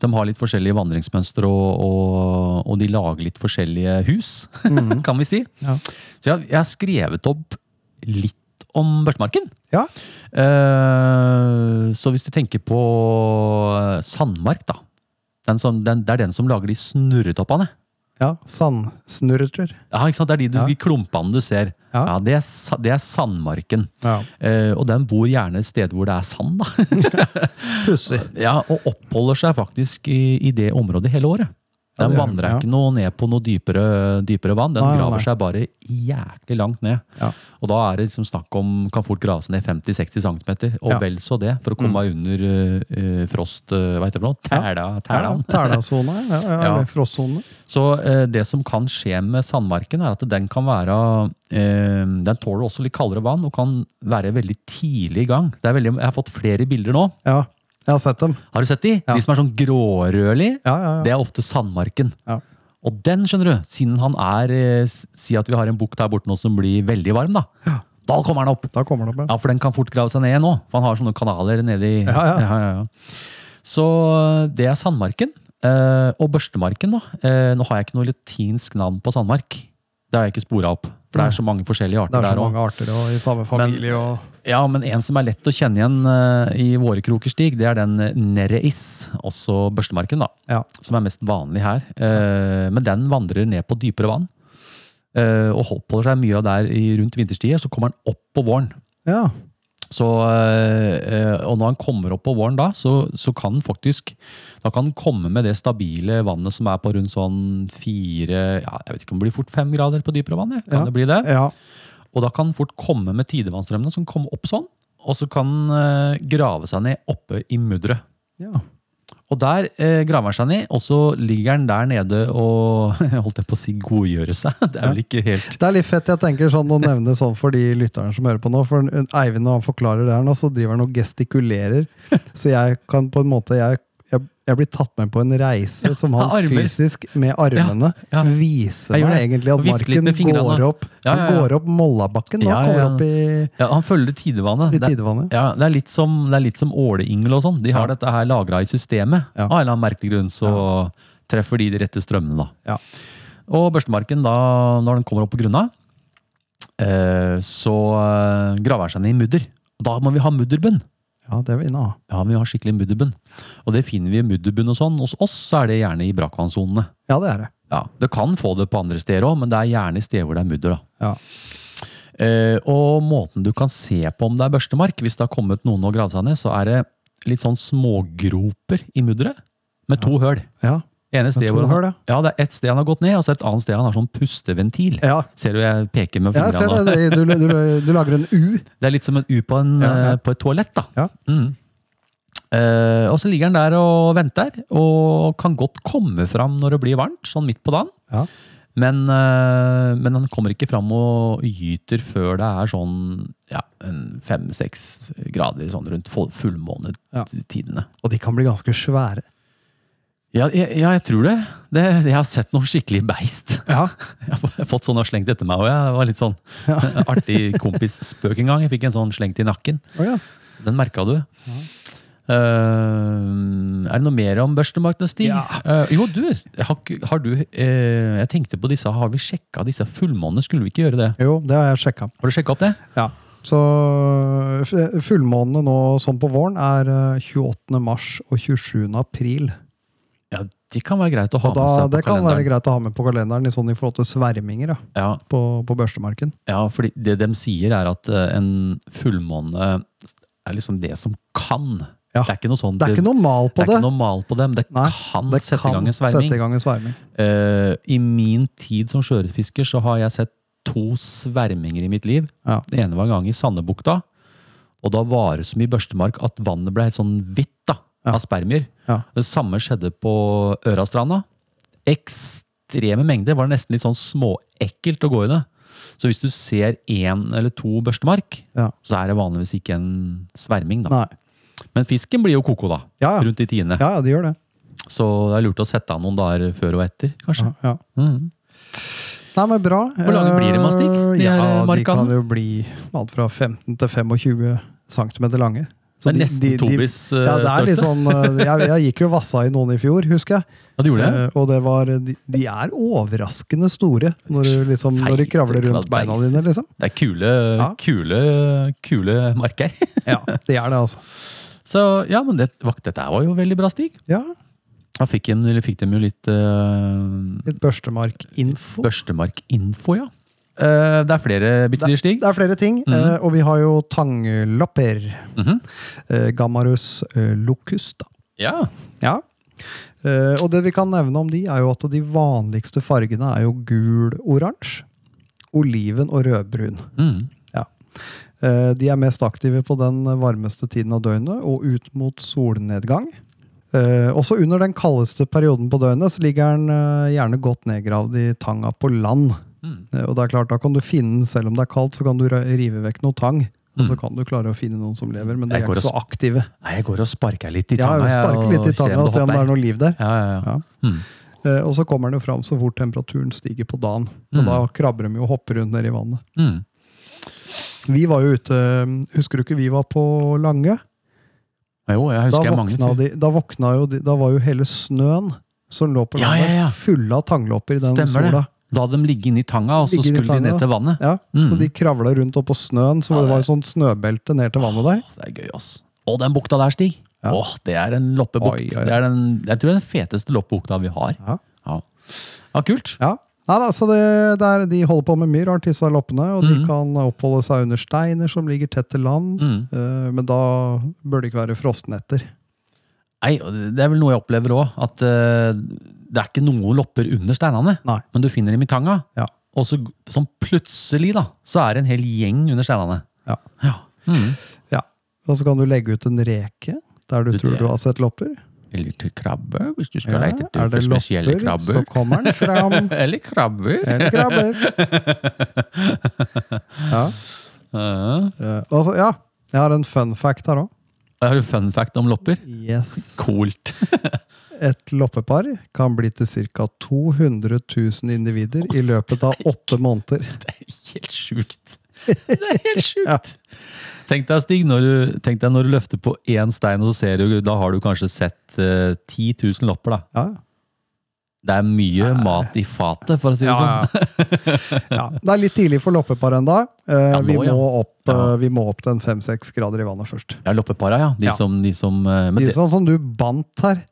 S2: De har litt forskjellige vandringsmønstre, og, og, og de lager litt forskjellige hus, kan vi si.
S6: Mhm. Ja.
S2: Så jeg, jeg har skrevet opp litt om børstemarken.
S6: Ja,
S2: Eh, så hvis du tenker på eh, sandmark, da. Den som, den, det er den som lager de snurretoppene.
S6: ja. Sandsnurrer.
S2: Ja, ikke sant? Det er de, du,
S6: Ja.
S2: de klumpene du ser. Ja.
S6: Ja.
S2: det, er, sa- det er sandmarken.
S6: Ja.
S2: Eh, og den bor gjerne steder hvor det er sand, da.
S6: Pussig.
S2: Ja, og oppholder seg faktisk i, i det området hele året.
S6: Ja,
S2: Den
S6: det gjør den,
S2: vandrer
S6: ja.
S2: ikke noe ned på noe dypere, dypere vann. Den
S6: Nei, nei, nei.
S2: graver seg bare jæklig langt ned.
S6: Ja.
S2: Og da er det liksom snakk om kan fort grave seg ned 50-60 cm, og
S6: Ja. Mm.
S2: vel så det, for å komme under eh, frost... Uh, hva heter det for noe? Tæla,
S6: Ja,
S2: tælan.
S6: Tælasone, ja, ja,
S2: Ja.
S6: eller frostsone.
S2: Så eh, det som kan skje med sandmarken, er at den kan være eh, Den tåler også litt kaldere vann og kan være veldig tidlig i gang. Det er veldig, jeg har fått flere bilder nå.
S6: Ja, jeg har sett dem.
S2: Har du sett de?
S6: Ja.
S2: De som er sånn grårødlig.
S6: Ja, ja, ja.
S2: Det er ofte sandmarken.
S6: Ja.
S2: Og den, skjønner du, siden han er eh, s- Si at vi har en bukt her borte nå som blir veldig varm, da. Da kommer han opp!
S6: Da kommer det opp, ja.
S2: Ja, for den kan fort grave seg ned nå. For han har sånne kanaler nedi
S6: Ja, ja.
S2: ja. Så det er sandmarken. eh, og børstemarken, da. Eh, nå har jeg ikke noe latinsk navn på sandmark. Det har jeg ikke spora opp. For det er så mange forskjellige
S6: Det
S2: arter
S6: er så
S2: der òg.
S6: mange arter og i samme familie. og
S2: Ja, men en som er lett å kjenne igjen eh, i våre krokerstig, det er den eh, nereis, også børstemarken, da
S6: ja.
S2: som er mest vanlig her. Eh, men den vandrer ned på dypere vann. eh, og oppholder seg mye av der i- rundt vinterstid. Så kommer den opp på våren.
S6: ja.
S2: Så, eh, eh, og når han kommer opp på våren da, så, så kan han faktisk da kan han komme med det stabile vannet som er på rundt sånn fire ja, Jeg vet ikke om det blir fort fem grader på dypere vann. jeg. Kan
S6: Ja.
S2: det bli det?
S6: ja.
S2: Og da kan den fort komme med tidevannsstrømmene som kommer opp sånn. Og så kan den eh, grave seg ned oppe i mudderet.
S6: ja.
S2: Og der eh, graver han seg ned, og så ligger han der nede og holdt jeg på å si godgjøre seg. Det er vel ikke helt
S6: Det er litt fett jeg tenker sånn å nevne sånn for de lytterne som hører på nå. For Eivind når han forklarer det her nå, så driver han og gestikulerer. Så jeg kan på en måte jeg, jeg, jeg blir tatt med på en reise som han
S2: armer.
S6: fysisk, med armene,
S2: Ja, ja.
S6: viser
S2: Jeg gjør
S6: meg
S2: det.
S6: egentlig
S2: Og
S6: at
S2: vifter litt
S6: marken
S2: med fingrene.
S6: går opp.
S2: Ja, ja,
S6: Han
S2: ja.
S6: går opp Mollabakken nå,
S2: Ja, ja,
S6: kommer
S2: ja.
S6: opp i,
S2: ja, Han følger tidevannet.
S6: i
S2: Det er-
S6: tidevannet.
S2: Ja, det er litt som, det er litt som åleyngel og sånn. De har dette her lagra i systemet.
S6: Ja.
S2: Av en eller annen merkelig grunn så treffer de de rette strømmene, da.
S6: Ja.
S2: Og børstemarken, da, når den kommer opp på grunna, eh, så eh, graver den seg ned i mudder. Og da må vi ha mudderbunn.
S6: Ja, det er vi inne av.
S2: Ja, vi har skikkelig mudderbunn. Og det finner vi i mudderbunn og sånn. Hos oss så er det gjerne i brakkvannsonene.
S6: Ja, det er det.
S2: Ja, Du kan få det på andre steder òg, men det er gjerne steder hvor det er mudder. da.
S6: Ja.
S2: Eh, og måten du kan se på om det er børstemark, hvis det har kommet noen og gravd seg ned, så er det litt sånn smågroper i mudderet med to høl.
S6: Ja.
S2: Ene sted
S6: to
S2: hvor han,
S6: høl, ja.
S2: ja, det er ett sted han har gått ned, og så et annet sted han har sånn pusteventil.
S6: Ja.
S2: Ser du jeg peker med
S6: Ja, Jeg ser
S2: fingrene?
S6: det. Du, du, du, du lager en U.
S2: Det er litt som en U på, en,
S6: Ja, ja.
S2: eh, på et toalett, da.
S6: Ja.
S2: Mm. Eh, og så ligger han der og venter, og kan godt komme fram når det blir varmt, sånn midt på dagen.
S6: Ja.
S2: Men, eh, men han kommer ikke fram og gyter før det er sånn ja, fem-seks grader sånn rundt full- fullmånetidene.
S6: Og de kan bli ganske svære.
S2: Ja, jeg, ja, jeg tror det. det. Jeg har sett noen skikkelig beist.
S6: Ja.
S2: Jeg har fått sånne slengt etter meg, og jeg var litt sånn artig kompisspøk en gang. Jeg fikk en sånn slengt i nakken.
S6: Å ja.
S2: Den merka du. Eh, er det noe mer om børstemarkene, Stig?
S6: Ja.
S2: Eh, jo, du, har, ikke- har du eh, Jeg tenkte på disse, har vi sjekka disse fullmånene? Skulle vi ikke gjøre det?
S6: Jo, det har jeg sjekka.
S2: Har du sjekka opp det?
S6: Ja. Så eh, f- fullmånene nå sånn på våren er eh, 28. mars og 27. april.
S2: Ja, De kan være greit å ha
S6: Og da,
S2: med seg på
S6: det kan være
S2: kalenderen.
S6: greit å ha med på kalenderen i, sånn i forhold til sverminger ja,
S2: Ja,
S6: på, på børstemarken.
S2: ja, fordi det de sier, er at eh, en fullmåne er liksom det som kan. Det
S6: Ja.
S2: er ikke noe sånn
S6: Det er ikke noe mal
S2: det
S6: på
S2: er
S6: det.
S2: ikke noe mal på dem. Det
S6: Nei,
S2: kan
S6: det
S2: sette i
S6: kan
S2: gang en
S6: sette
S2: sverming.
S6: i gang en sverming.
S2: Eh, I min tid som sjøørretfisker så har jeg sett to sverminger i mitt liv.
S6: Ja.
S2: Det ene var en gang i Sandebukta. Og da var det så mye børstemark at vannet ble helt sånn hvitt da,
S6: Ja.
S2: av spermier.
S6: Ja.
S2: Det samme skjedde på Ørastranda. Ekstreme mengder. Var det nesten litt sånn småekkelt å gå i det. Så hvis du ser én eller to børstemark,
S6: Ja.
S2: så er det vanligvis ikke en sverming. da.
S6: Nei.
S2: Men fisken blir jo koko, da.
S6: Ja, ja.
S2: Rundt i tiende.
S6: Ja, ja, de gjør det.
S2: Så det er lurt å sette av noen dager før og etter, kanskje. Mhm.
S6: Ja, ja. Nei, men bra. Eh,
S2: Hvor lange blir de, Mastig? De
S6: ja,
S2: her
S6: de
S2: markene?
S6: kan jo bli alt fra 15 til 25 cm lange.
S2: Det er nesten Tobis, eh,
S6: ja, det er litt sånn, eh, jeg, jeg gikk jo vassa i noen i fjor, husker jeg.
S2: Ja, du gjorde det?
S6: Eh, og det var, de, de er overraskende store når du, liksom, når du
S2: Feite
S6: kravler rundt
S2: kladdeiser.
S6: beina dine. liksom.
S2: Det er kule,
S6: Ja.
S2: kule, kule marker.
S6: Ja, Det er det, altså.
S2: Så ja, men det, vakt, dette her var jo veldig bra, Stig.
S6: Ja,
S2: Da fikk, de- eller fikk dem jo litt eh,
S6: Litt børstemarkinfo.
S2: børstemarkinfo, ja. Eh, det er flere bytter, Stig.
S6: Det er flere ting,
S2: Mhm.
S6: eh, og vi har jo tanglapper. Eh, Gammarus eh, locus, da.
S2: Ja.
S6: Ja. Eh, og det vi kan nevne om de, er jo at de vanligste fargene er jo gul-oransje, oliven og rødbrun.
S2: Mhm.
S6: Ja. Eh, De er mest aktive på den varmeste tiden av døgnet og ut mot solnedgang. Eh, Også under den kaldeste perioden på døgnet så ligger den eh, gjerne godt nedgravd i tanga på land.
S2: Mhm.
S6: Eh, Og det er klart, da kan du finne den selv om det er kaldt, så kan du ra- rive vekk noe tang. Og så kan du klare å finne noen som lever, men de
S2: Mm. Jeg
S6: er
S2: går og
S6: ikke så aktive.
S2: Nei, jeg går og sparker litt i
S6: Ja,
S2: tanga. jeg,
S6: sparker litt i tanga og se om det er
S2: hopper.
S6: noe liv der.
S2: Ja, ja, Mhm. ja.
S6: Ja. Eh, Og så kommer den jo fram så fort temperaturen stiger på dagen. Og da krabber de jo og hopper rundt nede i vannet.
S2: Mm.
S6: Vi var jo ute Husker du ikke vi var på Lange?
S2: Jo, jeg
S6: Da
S2: husker jeg mange
S6: våkna,
S2: fyr.
S6: de, da våkna jo de Da var jo hele snøen som lå på
S2: Ja,
S6: landet,
S2: ja, ja.
S6: fulle av tanglopper i den
S2: Stemmer det.
S6: sola.
S2: Da hadde de ligget inni tanga, og så
S6: Ligget inni
S2: skulle de
S6: tanga.
S2: ned til vannet.
S6: Ja, Så de kravla rundt oppå snøen, så det var et sånt snøbelte ned til vannet der.
S2: Det er gøy, ass. Og den bukta der, Stig. Åh, det er en loppebukt.
S6: Oi, oi, oi.
S2: Det er den, jeg tror det er den feteste loppebukta vi har.
S6: Ja.
S2: Ja, Ja, kult.
S6: Ja. Nei da, så det, det er, De holder på med mye rart, disse loppene. Og
S2: Mm.
S6: de kan oppholde seg under steiner som ligger tett til land.
S2: Mm.
S6: eh, men da bør det ikke være frostnetter.
S2: Nei, og det er vel noe jeg opplever òg, at eh, det er ikke noen lopper under steinene,
S6: Nei.
S2: men du finner dem i tanga.
S6: Ja.
S2: Og så sånn plutselig, da, så er det en hel gjeng under steinene.
S6: Ja.
S2: Ja. Mm.
S6: ja. Og så kan du legge ut en reke der du,
S2: Du,
S6: tror
S2: det-
S6: du har sett lopper.
S2: Eller til krabbe, hvis du skal
S6: Ja,
S2: lete etter
S6: er det
S2: for spesielle
S6: lopper, så
S2: krabber.
S6: kommer den fram.
S2: Eller krabber.
S6: Eller krabber. Ja.
S2: Ja.
S6: Eh, altså, ja. Jeg har en fun fact her òg.
S2: Har du fun fact om lopper? Coolt.
S6: Et loppepar kan bli til ca. 200 000 individer i løpet av åtte måneder.
S2: Det er helt sjukt. Det er helt sjukt. Tenk deg, Stig, når du, tenk deg når du løfter på én stein, og så ser du, da har du kanskje sett eh, 10 000 lopper. da.
S6: Ja.
S2: Det er mye mat i fatet, for å si det sånn.
S6: ja. Det er litt tidlig for loppepar ennå.
S2: Ja,
S6: vi,
S2: nå, ja.
S6: må opp, eh, vi må opp til en fem-seks grader i vannet først.
S2: Ja, loppepara, ja. De
S6: Ja.
S2: som, de som eh, men
S6: De
S2: det,
S6: sånn som du bandt her,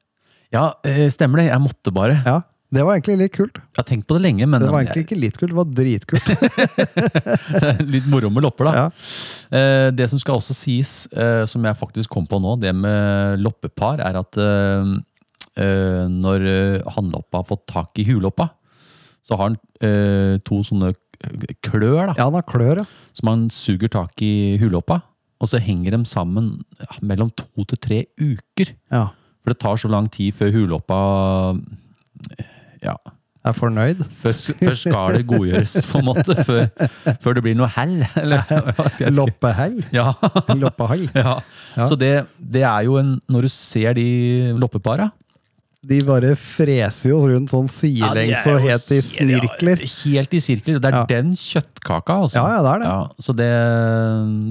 S2: Ja, eh, stemmer det. Jeg måtte bare.
S6: ja, det var egentlig litt kult.
S2: Jeg har tenkt på det lenge, men
S6: Det var
S2: jeg-
S6: egentlig ikke litt kult, det var dritkult.
S2: litt moro med lopper, da.
S6: Ja.
S2: Eh, Det som skal også sies, eh, som jeg faktisk kom på nå, det med loppepar, er at eh, eh, når eh, hannloppa har fått tak i huloppa, så har han eh, to sånne klør da,
S6: Ja, han har klør, ja.
S2: som han suger tak i huloppa, og så henger de sammen ja, mellom to til tre uker.
S6: ja.
S2: For det tar så lang tid før huloppa ja,
S6: Jeg er fornøyd.
S2: før, før skal det godgjøres, på en måte. Før, før det blir noe hell. Eller, hva skal jeg si?
S6: Loppehei.
S2: Ja.
S6: Loppehei.
S2: Ja. Så det, det er jo en Når du ser de loppepara
S6: De bare freser jo rundt sånn sidelengs og helt i snirkler.
S2: Helt i sirkler. og Det er
S6: Ja.
S2: den kjøttkaka, altså.
S6: Ja, ja, det er det.
S2: så det,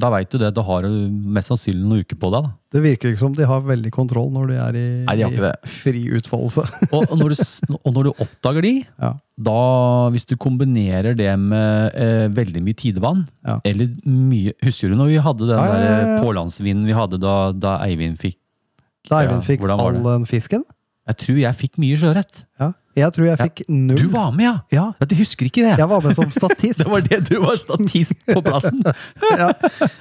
S2: da veit du det. Da har du mest sannsynlig noen uker på deg. da.
S6: Det virker ikke som de har veldig kontroll når de er i,
S2: Nei, de har ikke det.
S6: i fri utfoldelse.
S2: Og, og, når du, s- og når du oppdager de,
S6: Ja.
S2: da, hvis du kombinerer det med eh, veldig mye tidevann
S6: Ja.
S2: eller mye, Husker du når vi hadde den
S6: Ja, ja, ja,
S2: der eh,
S6: ja.
S2: pålandsvinden vi hadde da, da Eivind fikk
S6: Da Eivind fikk
S2: hvordan var
S6: all
S2: det?
S6: den fisken.
S2: Jeg tror jeg fikk mye sjøørret.
S6: Ja. Jeg tror jeg
S2: Ja.
S6: fikk null.
S2: Du var med, ja!
S6: Ja,
S2: Jeg husker ikke det.
S6: jeg var med som statist.
S2: Det var det du var statist på plassen.
S6: ja.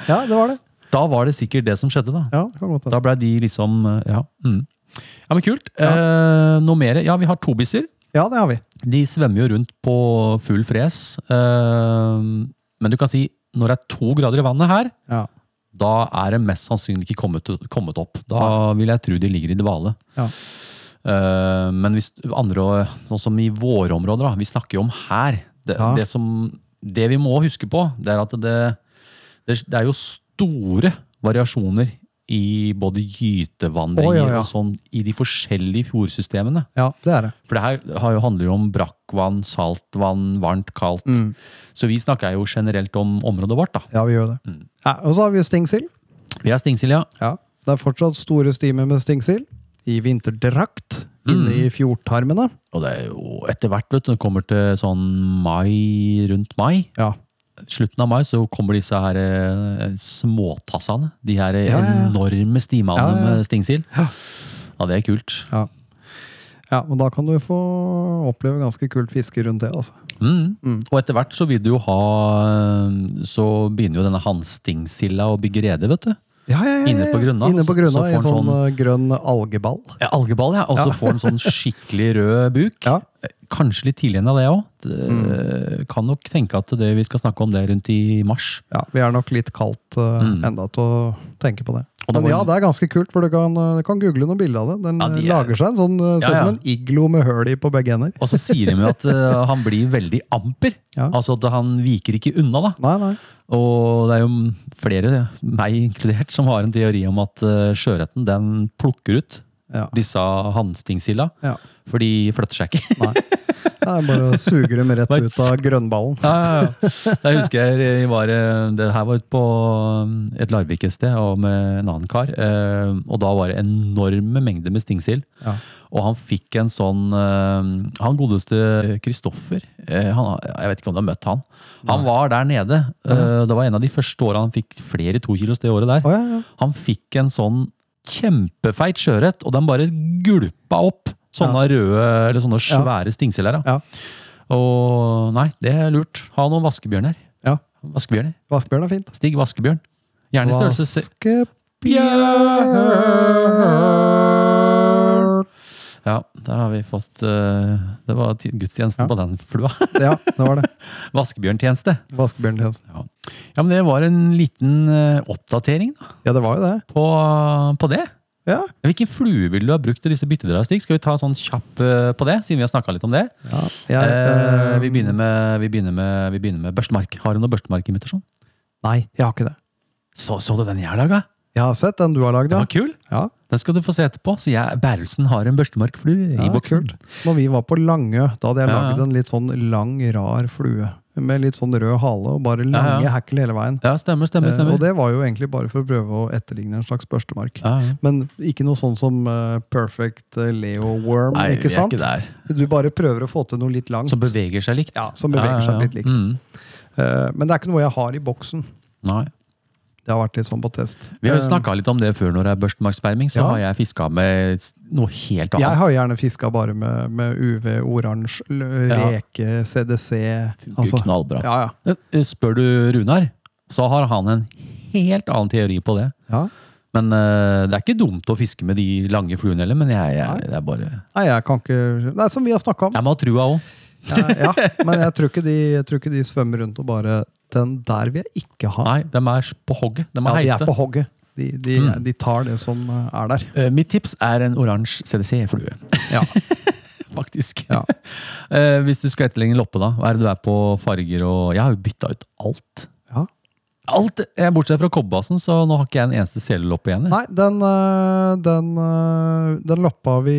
S6: ja, det var det.
S2: Da var det sikkert det som skjedde, da.
S6: Ja, det kan godt
S2: Da
S6: hende.
S2: blei de liksom Ja, mm. ja men kult. Eh, noe mer? Ja, vi har tobisser.
S6: Ja, det har vi.
S2: De svømmer jo rundt på full fres. Eh, men du kan si når det er to grader i vannet her,
S6: Ja.
S2: da er det mest sannsynlig ikke kommet, kommet opp. Da vil jeg tro de ligger i dvale.
S6: Ja.
S2: Eh, men hvis andre, sånn som i våre områder, da, vi snakker jo om her. Det,
S6: Ja.
S2: det, som, det vi må huske på, det er at det, det, det er jo store variasjoner i både gytevandringer
S6: Å, ja, ja.
S2: og sånn i de forskjellige fjordsystemene.
S6: ja, det er det.
S2: For det her har jo, handler jo om brakkvann, saltvann, varmt, kaldt.
S6: Mm.
S2: Så vi snakker jo generelt om området vårt, da.
S6: Ja, vi gjør det.
S2: Mm.
S6: Ja, og så har vi jo stingsild.
S2: Vi er Stingsilja.
S6: Ja. Det er fortsatt store stimer med stingsild. I vinterdrakt. Inne
S2: Mm.
S6: i fjordtarmene.
S2: Og det er jo etter hvert, vet du, det kommer til sånn mai, rundt mai.
S6: Ja.
S2: Slutten av mai så kommer disse her eh, småtassene. De her eh,
S6: Ja, ja, ja.
S2: enorme stimene
S6: Ja, ja, ja.
S2: med stingsild. Ja. det er kult.
S6: ja. Ja, og da kan du få oppleve ganske kult fiske rundt det, altså.
S2: Mm. Og etter hvert så vil du jo ha eh, Så begynner jo denne hanstingsilla å bygge rede, vet du.
S6: Ja, ja, ja, ja.
S2: Inne på grunna,
S6: Inne på
S2: så-
S6: grunna
S2: så får
S6: I
S2: han
S6: sånn,
S2: sånn-
S6: eh, grønn algeball.
S2: Ja, algeball, ja. Og så får den sånn skikkelig rød buk.
S6: Ja. Mm.
S2: Kanskje litt tidlig enn det òg. Kan nok tenke at det, vi skal snakke om det rundt i mars.
S6: Ja, Vi er nok litt kaldt eh, enda til å tenke på det.
S2: Mm. Og det
S6: Men
S2: var
S6: ja,
S2: en-
S6: det er ganske kult, for du kan, eh, kan google noen bilder av det. Den
S2: Ja, de
S6: eh,
S2: er-
S6: lager seg en sånn, eh,
S2: Ja,
S6: ser ut
S2: ja.
S6: som en iglo med høl i på begge hender.
S2: Og så sier de jo at eh, han blir veldig amper.
S6: Ja.
S2: Altså at han viker ikke unna, da.
S6: Nei, nei.
S2: Og det er jo flere, meg inkludert, som har en teori om at eh, sjøørreten den plukker ut
S6: Ja.
S2: disse hannstingsilda.
S6: Ja.
S2: For de flytter seg ikke.
S6: nei. Det er bare å suge dem rett
S2: Bare-
S6: ut av grønnballen.
S2: Ja, ja, ja. Jeg husker jeg var, eh, det her var ute på eh, et Larvik et sted og med en annen kar. eh, Og da var det enorme mengder med stingsild.
S6: Ja.
S2: Og han fikk en sånn eh, Han godeste Kristoffer eh, han- Jeg vet ikke om du har møtt han. Han var der nede. eh, Det var en av de første åra han fikk flere tokilos det året der.
S6: Å, ja, ja.
S2: Han fikk en sånn kjempefeit sjøørret, og den bare gulpa opp. Sånne røde, eller sånne svære stingseler. da.
S6: Ja.
S2: Og nei, det er lurt. Ha noen vaskebjørner.
S6: ja.
S2: Vaskebjørner.
S6: Vaskebjørn er fint.
S2: Stig vaskebjørn. Gjerne i størrelse se-
S6: Vaskebjørn
S2: Ja, da har vi fått eh, Det var ti- gudstjenesten på den flua.
S6: Ja, det var det.
S2: Vaskebjørntjeneste.
S6: Vaskebjørntjenesten.
S2: Ja. ja, men det var en liten eh, oppdatering da,
S6: Ja, det var jo det.
S2: på, på det.
S6: Ja.
S2: Hvilken flue ville du ha brukt til disse byttedøra, Stig? Skal vi ta sånn kjapp eh, på det, siden vi har snakka litt om det?
S6: ja jeg,
S2: eh,
S6: eh,
S2: vi, begynner med, vi, begynner med, vi begynner med børstemark. Har du noe børstemarkimitasjon?
S6: Nei, jeg har ikke det.
S2: Så, så du den jeg har laga?
S6: Jeg har sett den du har lagd,
S2: Den
S6: ja.
S2: var kul!
S6: ja.
S2: Den skal du få se etterpå. Så jeg, Bærelsen har en børstemarkflue
S6: Ja,
S2: i boksen.
S6: kult. Når vi var på Langø, da hadde jeg
S2: Ja,
S6: lagd
S2: ja.
S6: en litt sånn lang, rar flue. Med litt sånn rød hale og bare
S2: Ja,
S6: lange
S2: ja.
S6: hekkel hele veien.
S2: Ja, stemmer, stemmer.
S6: Eh,
S2: stemmer.
S6: og det var jo egentlig bare for å prøve å etterligne en slags børstemark.
S2: ja, ja.
S6: Men ikke noe sånn som eh, Perfect eh, Leo Worm,
S2: Nei, vi
S6: ikke
S2: er
S6: sant?
S2: ikke der.
S6: Du bare prøver å få til noe litt langt.
S2: Som beveger seg likt.
S6: Ja, som beveger seg litt likt.
S2: Mm.
S6: Eh, men det er ikke noe jeg har i boksen.
S2: Nei.
S6: Det har vært litt sånn på test.
S2: Vi har jo
S6: Eh,
S2: snakka litt om det før når det er børstemarksperming. Så
S6: Ja.
S2: har jeg fiska med s- noe helt annet.
S6: jeg har gjerne fiska bare med, med UV, oransje, l-
S2: Ja.
S6: reke, CDC.
S2: Funker knallbra.
S6: altså, Ja, ja.
S2: Eh, Spør du Runar, så har han en helt annen teori på det.
S6: ja.
S2: Men eh, det er ikke dumt å fiske med de lange fluene heller, men jeg, jeg, det er bare
S6: Nei, jeg kan ikke Det er som vi har snakka om.
S2: Jeg må ha trua òg.
S6: Ja, ja. Men jeg tror, ikke de, jeg tror ikke de svømmer rundt og bare Den der vil jeg ikke ha.
S2: Nei, de er på hogget. De
S6: ja,
S2: er
S6: de er
S2: heite. Mm.
S6: på hogget. De, de, de tar det som eh, er der.
S2: Eh, Mitt tips er en oransje CDC-flue,
S6: Ja.
S2: faktisk.
S6: Ja.
S2: Eh, Hvis du skal etterligne loppe, da. Hva er det du er på farger og Jeg har jo bytta ut alt.
S6: Ja.
S2: Alt, eh, Bortsett fra kobberbasen, så nå har ikke jeg en eneste seleloppe igjen. jeg.
S6: Nei, den, eh, den, eh, den loppa vi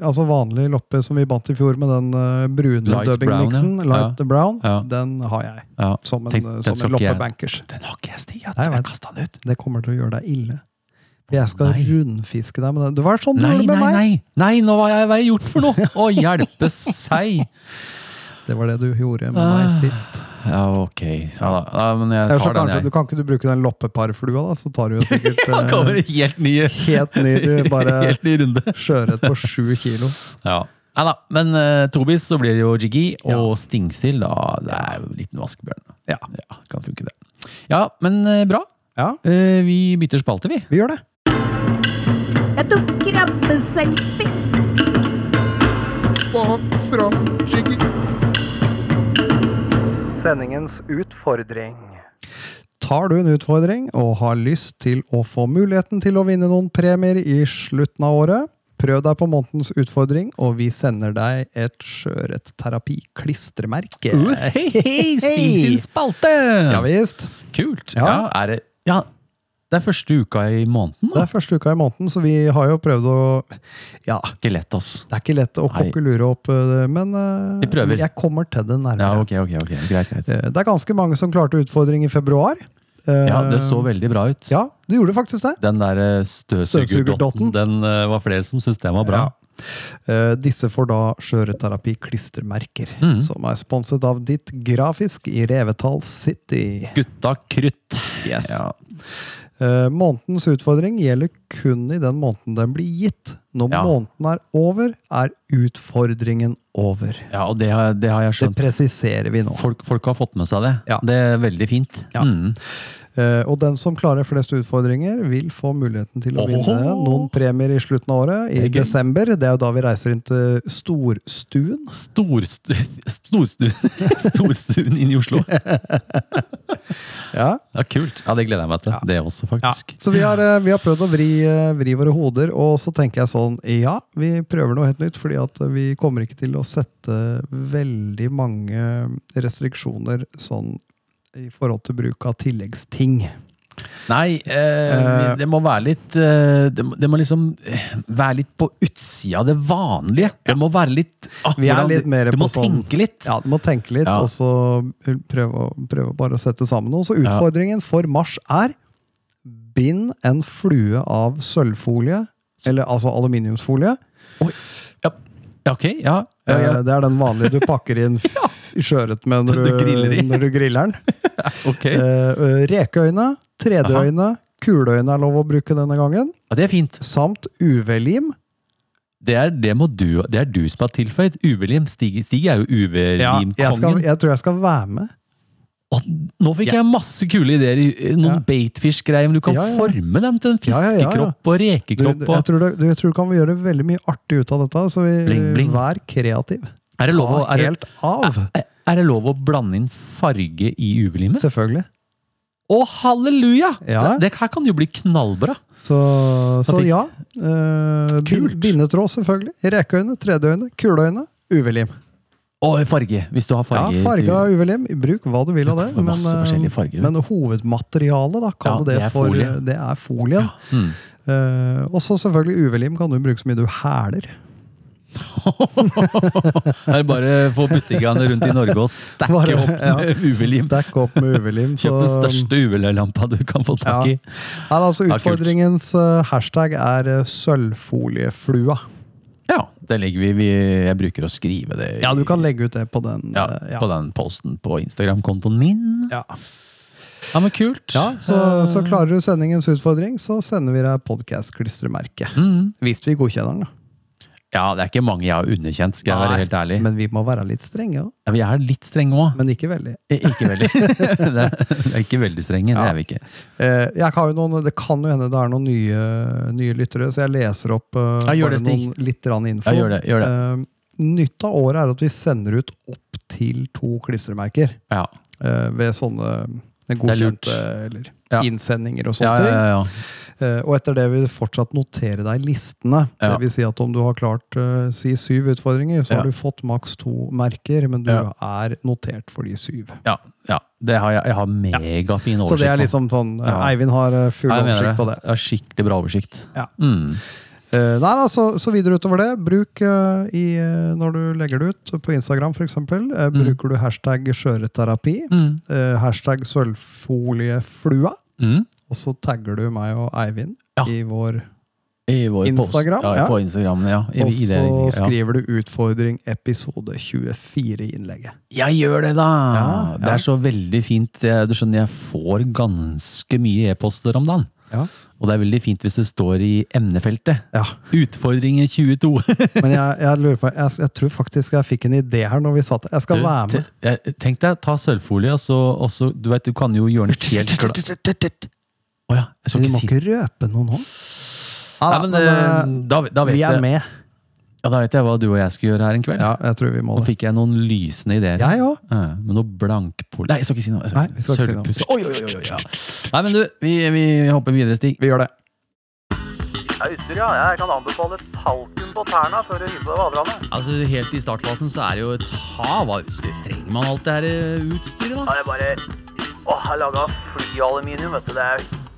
S6: Altså vanlig loppe som vi bandt i fjor med den eh, brune
S2: Light
S6: dubbingmiksen,
S2: brown, ja.
S6: light brown,
S2: Ja.
S6: den har jeg.
S2: Ja,
S6: Som en,
S2: tenk,
S6: eh,
S2: den
S6: som
S2: skal
S6: en
S2: ikke jeg-
S6: loppebankers.
S2: Den har ikke jeg, Stig. Jeg,
S6: Nei,
S2: jeg
S6: vet.
S2: kastet den ut.
S6: Det kommer til å gjøre deg ille. For jeg skal
S2: Nei.
S6: rundfiske deg med den. Det var sånn du
S2: Nei, nei,
S6: gjorde med meg!
S2: nei! nei nå har jeg, hva har jeg gjort for noe? Å hjelpe seg!
S6: Det var det du gjorde med
S2: Ah.
S6: meg sist.
S2: Ja, ok. Ja, da. Ja, men jeg
S6: Ellers så
S2: tar den,
S6: kanskje,
S2: jeg.
S6: du kan ikke du bruke den loppeparflua, da? Så tar du jo sikkert
S2: Han kommer
S6: eh,
S2: i helt ny,
S6: helt ny, du bare
S2: helt ny runde.
S6: skjøret på sju kilo.
S2: Ja. Nei da, men eh, tobis så blir det jo jiggy, og
S6: Ja.
S2: stingsild, da. Det er jo en liten vaskebjørn.
S6: Ja.
S2: ja. Kan funke, det. Ja, men eh, bra.
S6: ja,
S2: Eh, vi bytter spalte, vi.
S6: vi gjør det.
S7: Jeg tok krabbeselfie.
S5: Sendingens utfordring.
S6: Tar du en utfordring og har lyst til å få muligheten til å vinne noen premier i slutten av året, prøv deg på månedens utfordring, og vi sender deg et sjøørretterapi-klistremerke.
S2: Uh, Eh, Hei, hei! Sting sin spalte!
S6: Ja visst.
S2: Kult. Ja.
S6: Ja.
S2: er det Ja, det er første uka i måneden.
S6: Det er første uka i måneden, så vi har jo prøvd å Ja, det
S2: Ikke lett, ass.
S6: er ikke lett å
S2: Nei.
S6: kokkelure opp, eh, men eh,
S2: Vi prøver.
S6: jeg kommer til det nærmere.
S2: Ja, ok, ok, ok. Greit, greit.
S6: Eh, Det er ganske mange som klarte utfordring i februar. Eh,
S2: Ja, det så veldig bra ut.
S6: Ja, det gjorde faktisk det.
S2: Den der eh, støvsugerdotten,
S6: Støvsugerdotten.
S2: den eh, var flere som syntes den var bra.
S6: Eh, Disse får da skjøreterapi-klistremerker,
S2: Mm.
S6: som er sponset av Ditt Grafisk i Revetal City.
S2: Gutta krutt.
S6: Yes.
S2: Ja.
S6: Eh, Månedens utfordring gjelder kun i den måneden den blir gitt. Når
S2: Ja.
S6: måneden er over, er utfordringen over.
S2: ja, og det har, det har jeg
S6: Det
S2: skjønt.
S6: presiserer vi nå.
S2: Folk, folk har fått med seg det.
S6: Ja.
S2: Det er veldig fint.
S6: Ja.
S2: Mm.
S6: Eh, og den som klarer flest utfordringer, vil få muligheten til å vinne
S2: Ohoho!
S6: noen premier i slutten av året. I
S2: Det er gøy.
S6: desember. Det er jo da vi reiser inn til Storstuen.
S2: Storstu... Storstu... Storstuen inn i Oslo. Det
S6: Ja.
S2: er kult. Ja, Det gleder jeg meg til. Det også, faktisk.
S6: Så vi har, eh, vi har prøvd å vri, eh, vri våre hoder, og så tenker jeg sånn Ja, vi prøver noe helt nytt, fordi at eh, vi kommer ikke til å sette veldig mange restriksjoner sånn i forhold til bruk av tilleggsting.
S2: Nei, eh, det må være litt eh, det, må, det må liksom eh, være litt på utsida av det vanlige. Det må være litt ah,
S6: Vi er
S2: hvordan-
S6: litt mer
S2: Du må
S6: på sånn
S2: tenke litt.
S6: Ja, du må tenke litt,
S2: Ja.
S6: og så prøve, å- prøve bare å sette sammen noe. Så utfordringen for mars er bind en flue av sølvfolie, eller altså aluminiumsfolie.
S2: Oi. Ja. Ja, Ok, ja. ja, ja.
S6: Eh, Det er den vanlige du pakker inn f- i skjøret med når
S2: Du
S6: du,
S2: griller i.
S6: når du griller den.
S2: Ok.
S6: Eh, eh, Rekeøyne, 3D-øyne, kuleøyne er lov å bruke denne gangen.
S2: Ja, det er fint.
S6: Samt UV-lim.
S2: Det er, det, må du, det er du som har tilføyd. UV-lim. Stig, Stig er jo
S6: jeg, skal,
S2: UV-limkongen.
S6: jeg tror jeg skal være med.
S2: Nå fikk jeg masse kule ideer. i- i Noen
S6: Ja.
S2: baitfish-greier. Men du kan
S6: Ja, ja.
S2: forme den til en
S6: Ja, ja, ja, ja.
S2: fiskekropp og
S6: Du,
S2: rekekropp.
S6: du, jeg,
S2: Og,
S6: tror det, du, jeg tror du kan gjøre veldig mye artig ut av dette, så vi,
S2: Bling, bling.
S6: vær kreativ.
S2: er, det lov å, Ah.
S6: Ta
S2: er,
S6: helt
S2: det,
S6: av.
S2: er- er det lov å blande inn farge i UV-limet?
S6: Selvfølgelig.
S2: Å, halleluja!
S6: Ja.
S2: Det, det her kan jo bli knallbra.
S6: Så, så
S2: fikk-
S6: ja. eh, bin-
S2: Kult.
S6: bindetråd, selvfølgelig. Rekeøyne, 3D-øyne, kuleøyne, UV-lim.
S2: Og farge, hvis du har
S6: Ja,
S2: farge.
S6: farge
S2: til-
S6: av UV-lim. Bruk hva du vil av det.
S2: Du får masse
S6: eh,
S2: forskjellige farger.
S6: men hovedmaterialet, da, kall
S2: Ja,
S6: det
S2: det er
S6: det for
S2: folie. mm.
S6: Det er folien. Eh, og så selvfølgelig UV-lim kan du bruke så mye du hæler.
S2: Det er bare å få butikkene rundt i Norge og stacke
S6: Bare-
S2: opp med
S6: ja,
S2: UV-lim.
S6: Stack opp med UV-lim.
S2: Kjøp den største UV-lampa du kan få tak i.
S6: Ja. Nei, altså,
S2: Ja, kult.
S6: utfordringens eh, hashtag er eh, sølvfolieflua.
S2: Ja, det legger vi, vi Jeg bruker å skrive det i-
S6: Ja, du kan legge ut det på den.
S2: ja,
S6: eh, ja.
S2: på den posten på Instagram-kontoen min.
S6: Ja.
S2: Ja, men kult.
S6: Ja, så,
S2: Eh.
S6: så klarer du sendingens utfordring, så sender vi deg podkast-klistremerke.
S2: Mm.
S6: Hvis vi godkjenner den, da.
S2: Ja, det er ikke mange jeg har underkjent, skal jeg være helt ærlig.
S6: Men vi må være litt strenge, da.
S2: ja, vi er litt strenge òg.
S6: men ikke veldig.
S2: Ikke veldig. det er, det er ikke veldig strenge, det er vi ikke.
S6: Eh, jeg har jo noen, det kan jo hende det er noen nye, nye lyttere, så jeg leser opp eh,
S2: Ja, gjør det,
S6: bare
S2: Stig.
S6: noen litt grann info.
S2: Ja, gjør det, gjør
S6: Eh, nytt av året er at vi sender ut opp til to klistremerker
S2: Ja.
S6: eh, ved sånne
S2: lurt.
S6: godkjente eller
S2: Ja.
S6: innsendinger og
S2: Ja,
S6: sånne
S2: ja,
S6: Sånn ting.
S2: ja, ja.
S6: Eh, Og etter det vil du fortsatt notere deg i listene.
S2: Ja.
S6: Det vil si at om du har klart eh, si syv utfordringer,
S2: Ja.
S6: så har du fått maks to merker, men du
S2: Ja.
S6: er notert for de syv.
S2: Ja, ja. Det har jeg, jeg har megafin oversikt.
S6: Så det er
S2: på.
S6: liksom sånn eh,
S2: Ja.
S6: Eivind har eh, full
S2: Nei, jeg mener
S6: oversikt på det.
S2: Jeg har skikkelig bra oversikt.
S6: Ja.
S2: Mm.
S6: Eh, nei da, så, så videre utover det. Bruk eh, i, eh, når du legger det ut på Instagram, f.eks. Uh,
S2: Mm.
S6: Bruker du hashtag skjøreterapi, eh, hashtag sølvfolieflua,
S2: Mm.
S6: og så tagger du meg og Eivind
S2: Ja.
S6: i vår
S2: I vår
S6: Instagram,
S2: post, ja,
S6: ja.
S2: På Instagram, ja. I,
S6: Og
S2: i det,
S6: så
S2: ja.
S6: skriver du 'Utfordring episode 24' i innlegget.
S2: Jeg gjør det, da!
S6: Ja,
S2: Det
S6: ja.
S2: er så veldig fint. Jeg- Du skjønner, jeg får ganske mye e-poster om dagen.
S6: Ja.
S2: Og det er veldig fint hvis det står i emnefeltet.
S6: Ja.
S2: Utfordringen 22.
S6: Men jeg, jeg lurer på, jeg, jeg tror faktisk jeg fikk en idé her når vi satt Jeg skal være med.
S2: Du, te- jeg- Tenk deg, ta sølvfolie, og så, og så Du vet, du kan jo gjøre den helt glad. Å ja. Jeg skal
S6: Men
S2: ikke
S6: vi må
S2: si
S6: ikke røpe noe nå.
S2: Nei,
S6: Ja, da,
S2: men,
S6: men,
S2: eh, da, da
S6: eh,
S2: vet
S6: vi er
S2: jeg,
S6: med.
S2: ja, da vet jeg hva du og jeg skal gjøre her en kveld.
S6: Ja, jeg tror vi må
S2: Nå
S6: det.
S2: fikk jeg noen lysende ideer.
S6: Jeg òg.
S2: Ja, men noe blankpol... Nei, jeg skal ikke si noe.
S6: Nei, vi skal ikke si noe.
S2: Sølvpuss. Oi, oi, oi, oi, ja. Nei, men du, vi, vi hopper videre, Stig.
S6: Vi gjør det.
S3: Ja, utstyr, ja. Jeg kan anbefale talken på tærne før du hiver deg vadrane.
S1: Altså, Helt i startfasen så er det jo et hav av utstyr. Trenger man alt det her eh, utstyret, da?
S3: Ja, jeg bare Åh, jeg laga flyaluminium, vet du.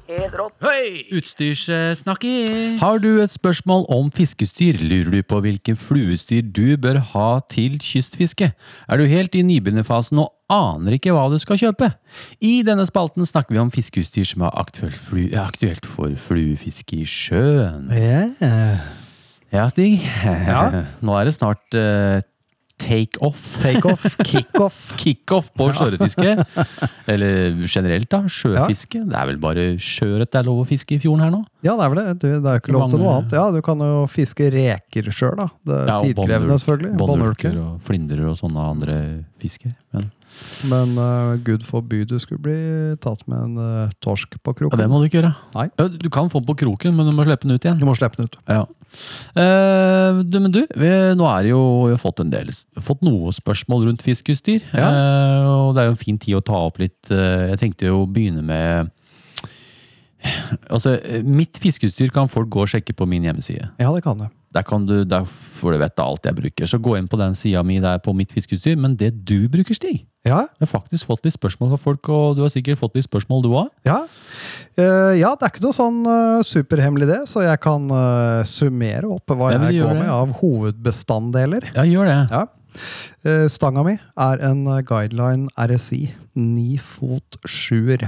S3: Det er helt rått.
S1: Utstyrssnakkis!
S2: Har du et spørsmål om fiskestyr, lurer du på hvilken fluestyr du bør ha til kystfiske? Er du helt i nybegynnerfasen og aner ikke hva du skal kjøpe? I denne spalten snakker vi om fiskeutstyr som er aktuelt, flu, er aktuelt for fluefiske i sjøen.
S6: Yeah.
S2: Ja, Stig. Nå er det snart eh, take-off.
S6: Takeoff, kickoff.
S2: Kickoff på sjøørretfiske. Eller generelt, da. Sjøfiske. Det er vel bare sjøørret det er lov å fiske i fjorden her nå?
S6: Ja, det er vel det. Du, det er jo ikke lov til noe annet. Ja, Du kan jo fiske reker sjøl, da. Det er
S2: Ja, og
S6: tidkrevende,
S2: bonnulk-
S6: selvfølgelig.
S2: Bonnulker
S6: Bonnulker.
S2: og flyndrer og sånne andre fisker. Men
S6: Men eh, gud forby du skulle bli tatt med en eh, torsk på
S2: Ja,
S6: kroken.
S2: det må du ikke gjøre.
S6: Nei.
S2: Ja, Du kan få den på kroken, men du må slippe den ut igjen.
S6: Du må slippe den ut.
S2: Ja. Eh, du, men du, vi, nå er det jo, vi har fått en del fått noe spørsmål rundt fiskeutstyr. Eh, og det er jo en fin tid å ta opp litt. eh, jeg tenkte jo å begynne med Altså, eh, mitt fiskeutstyr kan folk gå og sjekke på min hjemmeside.
S6: Ja, det kan du.
S2: Der, kan du, der får du vite alt jeg bruker. Så gå inn på den sida mi der på mitt fiskeutstyr. Men det du bruker, Stig
S6: Ja,
S2: Jeg har faktisk fått litt spørsmål fra folk, og du har sikkert fått litt spørsmål du òg.
S6: ja. Eh, ja, det er ikke noe sånn eh, superhemmelig det, så jeg kan eh, summere opp hva
S2: Ja, men
S6: jeg
S2: gjør
S6: går
S2: det.
S6: med av hovedbestanddeler.
S2: Ja, gjør det.
S6: Ja. Eh, Stanga mi er en eh, guideline RSI 9 fot 7.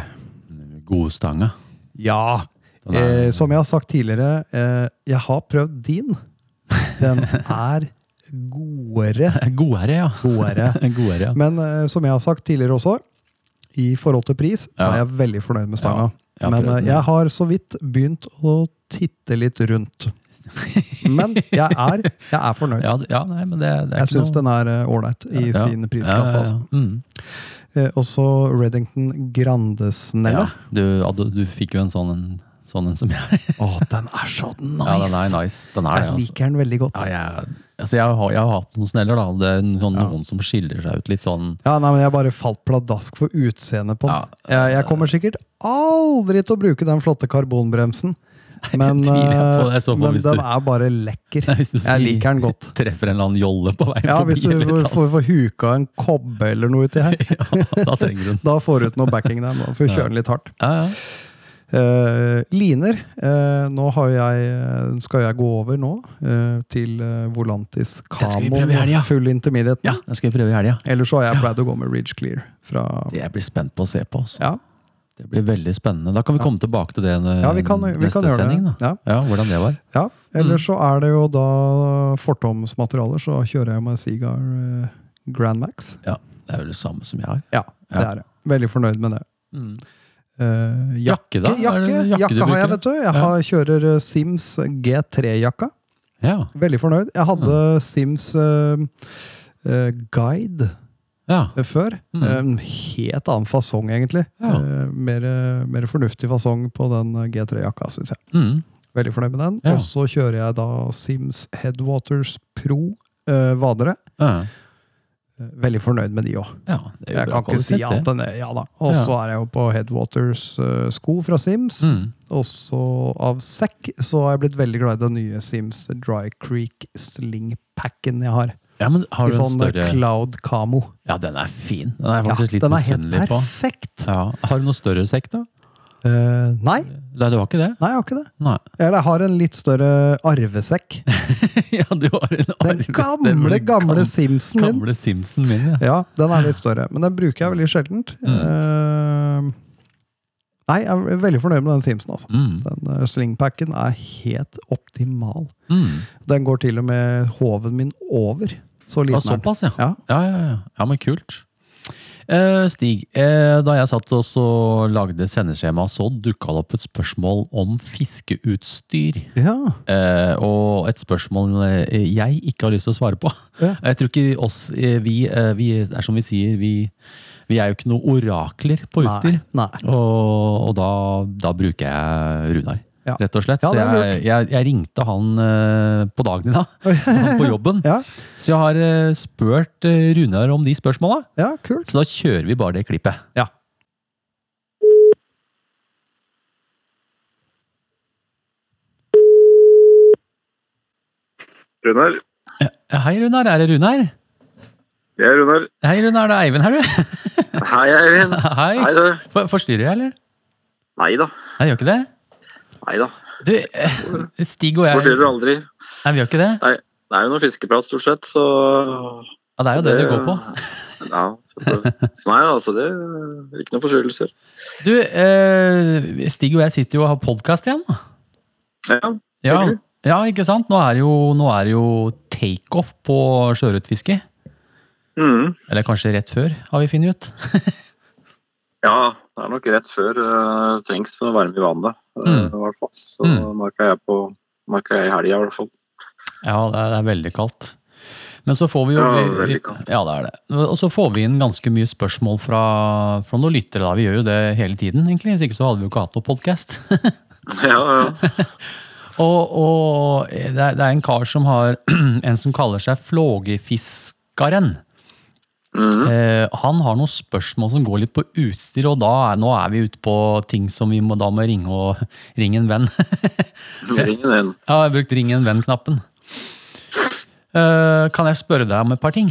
S2: Godstanga.
S6: Ja. Eh, som jeg har sagt tidligere, eh, jeg har prøvd din. Den er godere.
S2: Godere, ja.
S6: Godere.
S2: Godere, ja.
S6: Men eh, som jeg har sagt tidligere også, i forhold til pris, så
S2: Ja.
S6: er jeg veldig fornøyd med stanga.
S2: Ja, jeg har
S6: Men
S2: prøvd
S6: eh,
S2: den.
S6: jeg har så vidt begynt å titte litt rundt. Men jeg er, jeg er fornøyd.
S2: Ja, d- ja nei, men det, det er
S6: Jeg syns den er eh, ålreit i
S2: Ja.
S6: sin
S2: Ja,
S6: priskasse.
S2: ja,
S6: Altså.
S2: ja. Mm.
S6: Eh, også Reddington
S2: Ja,
S6: Grandesnelle.
S2: du, hadde- du fikk jo en sånn en, sånn en som jeg
S6: Å, den er så nice!
S2: Ja, den er nice. Den er det,
S6: Jeg
S2: altså.
S6: liker den veldig godt.
S2: Ja, jeg, altså jeg, har, jeg har hatt noen sneller, da. Det er en sånn, noen som skiller seg ut litt sånn
S6: Ja, nei, men Jeg bare falt pladask for utseendet på den. jeg,
S2: eh,
S6: jeg kommer sikkert aldri til å bruke den flotte karbonbremsen. Men,
S2: tviler jeg på.
S6: eh,
S2: Jeg så på
S6: men
S2: hvis du-
S6: den er bare lekker.
S2: Hvis du
S6: Jeg liker den godt.
S2: treffer en eller annen jolle på veien
S6: Ja,
S2: forbi,
S6: Hvis du
S2: eller
S6: får,
S2: noe
S6: får,
S2: sånt.
S6: får huka en kobbe eller noe uti her,
S2: ja, da trenger du den.
S6: da får du ut noe backing der. Da får du kjøre den litt hardt.
S2: Ja, ja.
S6: Eh, liner. Eh, nå har jeg, skal jeg gå over nå eh, til eh, Volantis
S2: skal vi
S6: Camon
S2: prøve i helgen, ja.
S6: full intermediate.
S2: ja, den skal jeg prøve i helga.
S6: Eller så har jeg pleid å gå med Ridge Clear. Fra,
S2: Det jeg blir spent på å se på. Altså.
S6: ja.
S2: Det blir veldig spennende. Da kan vi komme tilbake til det eh,
S6: Ja, vi kan- vi
S2: neste
S6: kan gjøre det.
S2: sending. Da. Mm.
S6: Ja.
S2: Ja, hvordan det var.
S6: ja. Eller så er det jo da fortomsmaterialer, så kjører jeg med Sigar eh, Grand Max.
S2: Ja, det er vel det samme som jeg har.
S6: Ja, det er det. Veldig fornøyd med det. Eh,
S2: Jakke, da? Er det
S6: Mm. Jakke,
S2: jakke
S6: jakke
S2: du
S6: har jeg,
S2: bruker?
S6: vet du. Jeg har, kjører eh, Sims G3-jakka.
S2: Ja,
S6: Veldig fornøyd. Jeg hadde
S2: Mm.
S6: Sims eh, eh, Guide
S2: ja.
S6: eh, før. Eh, En helt annen fasong, egentlig.
S2: Mm. Ja.
S6: Eh, mer, mer fornuftig fasong på den eh, G3-jakka, syns jeg.
S2: Mm.
S6: Veldig fornøyd med den.
S2: Ja.
S6: Og så kjører jeg da Sims Headwaters Pro eh, vadere.
S2: ja.
S6: Eh, Veldig fornøyd med de òg.
S2: ja det er jo
S6: Jeg
S2: bra
S6: kan ikke
S2: kvalitet,
S6: si
S2: det.
S6: annet enn det. Ja da. Og så er jeg jo på Headwaters-sko fra Sims.
S2: Mm.
S6: Også av sekk så har jeg blitt veldig glad i den nye Sims Dry Creek Sling-packen jeg har.
S2: Ja, men har
S6: I
S2: du en
S6: sånn
S2: større
S6: cloud camo.
S2: Ja, den er fin. Den er jeg
S6: Ja,
S2: faktisk litt
S6: den er helt
S2: misunnelig på.
S6: perfekt!
S2: Ja. Har du noe større sekk, da?
S6: Eh, nei,
S2: Nei, du har ikke det?
S6: nei, jeg har ikke det.
S2: Nei.
S6: Eller jeg har en litt større arvesekk.
S2: ja, du har en
S6: Den
S2: arvestemme.
S6: gamle, gamle
S2: Gam-
S6: Simsen min.
S2: Gamle Simpson min, ja.
S6: Ja, den er litt større, men den bruker jeg veldig sjeldent.
S2: Mm.
S6: Eh, nei, jeg er veldig fornøyd med den Simsen, altså.
S2: Mm.
S6: Den eh, slingpacken er helt optimal.
S2: Mm.
S6: Den går til og med hoven min over. Så
S2: Ja,
S6: liten er den.
S2: såpass, ja.
S6: Ja.
S2: Ja, ja, ja. ja men kult. Eh, Stig, eh, da jeg satt og så lagde sendeskjema, så dukka det opp et spørsmål om fiskeutstyr.
S6: Ja.
S2: Eh, og et spørsmål eh, jeg ikke har lyst til å svare på.
S6: Ja.
S2: Jeg tror ikke oss, eh, vi, eh, vi er som vi sier, vi, vi er jo ikke noe orakler på utstyr.
S6: Nei.
S2: Og, og da, da bruker jeg Runar,
S6: Ja.
S2: rett og slett.
S6: Ja,
S2: Så
S6: det er
S2: jeg, jeg, jeg ringte han eh, på dagen i dag, han på jobben.
S6: Ja,
S2: Så jeg har eh, spurt eh, Runar om de spørsmåla,
S6: ja kult.
S2: så da kjører vi bare det klippet.
S6: Ja.
S8: Runar.
S2: Ja, Hei, Runar. Er det Runar?
S8: Jeg er Runar.
S2: Hei, Runar. Det er Eivind her, du.
S8: Hei, Eivind.
S2: Hei.
S8: Hei, du.
S2: For- Forstyrrer jeg, eller?
S8: Nei da.
S2: Nei, jeg gjør ikke det?
S8: Nei da.
S2: Du, eh, Stig og jeg
S8: Forstyrrer aldri.
S2: Nei, vi gjør ikke det.
S8: Nei, det er jo noe fiskeprat stort sett, så
S2: Ja, det er jo det det går på.
S8: Ja. Så det- så nei, altså, det er ikke noen forstyrrelser.
S2: Du, eh, Stig og jeg sitter jo og har podkast igjen. da.
S8: Ja.
S2: Ja,
S8: Hyggelig.
S2: ja, ikke sant? Nå er det jo, nå er det jo takeoff på sjøørretfiske.
S8: Mhm.
S2: Eller kanskje rett før, har vi funnet ut.
S8: ja. Det er nok rett før det trengs å varme i vannet, eh,
S2: Mhm.
S8: i hvert fall. Så
S2: Mhm.
S8: merka jeg på merka jeg i helga, i hvert fall.
S2: Ja, det er, det er veldig kaldt. Men så får vi jo
S8: Ja,
S2: vi- vi,
S8: vellykka.
S2: ja, det er det. Og så får vi inn ganske mye spørsmål fra, fra noen lyttere. da. Vi gjør jo det hele tiden, egentlig. Hvis ikke så hadde vi jo ikke hatt noe podkast.
S8: Ja, ja.
S2: Og, og det, er, det er en kar som har en som kaller seg Flågefiskaren. Eh, han har noen spørsmål som går litt på utstyr, og da er, nå er vi ute på ting som vi må, da må ringe, og, ringe en venn.
S8: Ring den.
S2: jeg har brukt ring en venn-knappen. Eh, kan jeg spørre deg om et par ting?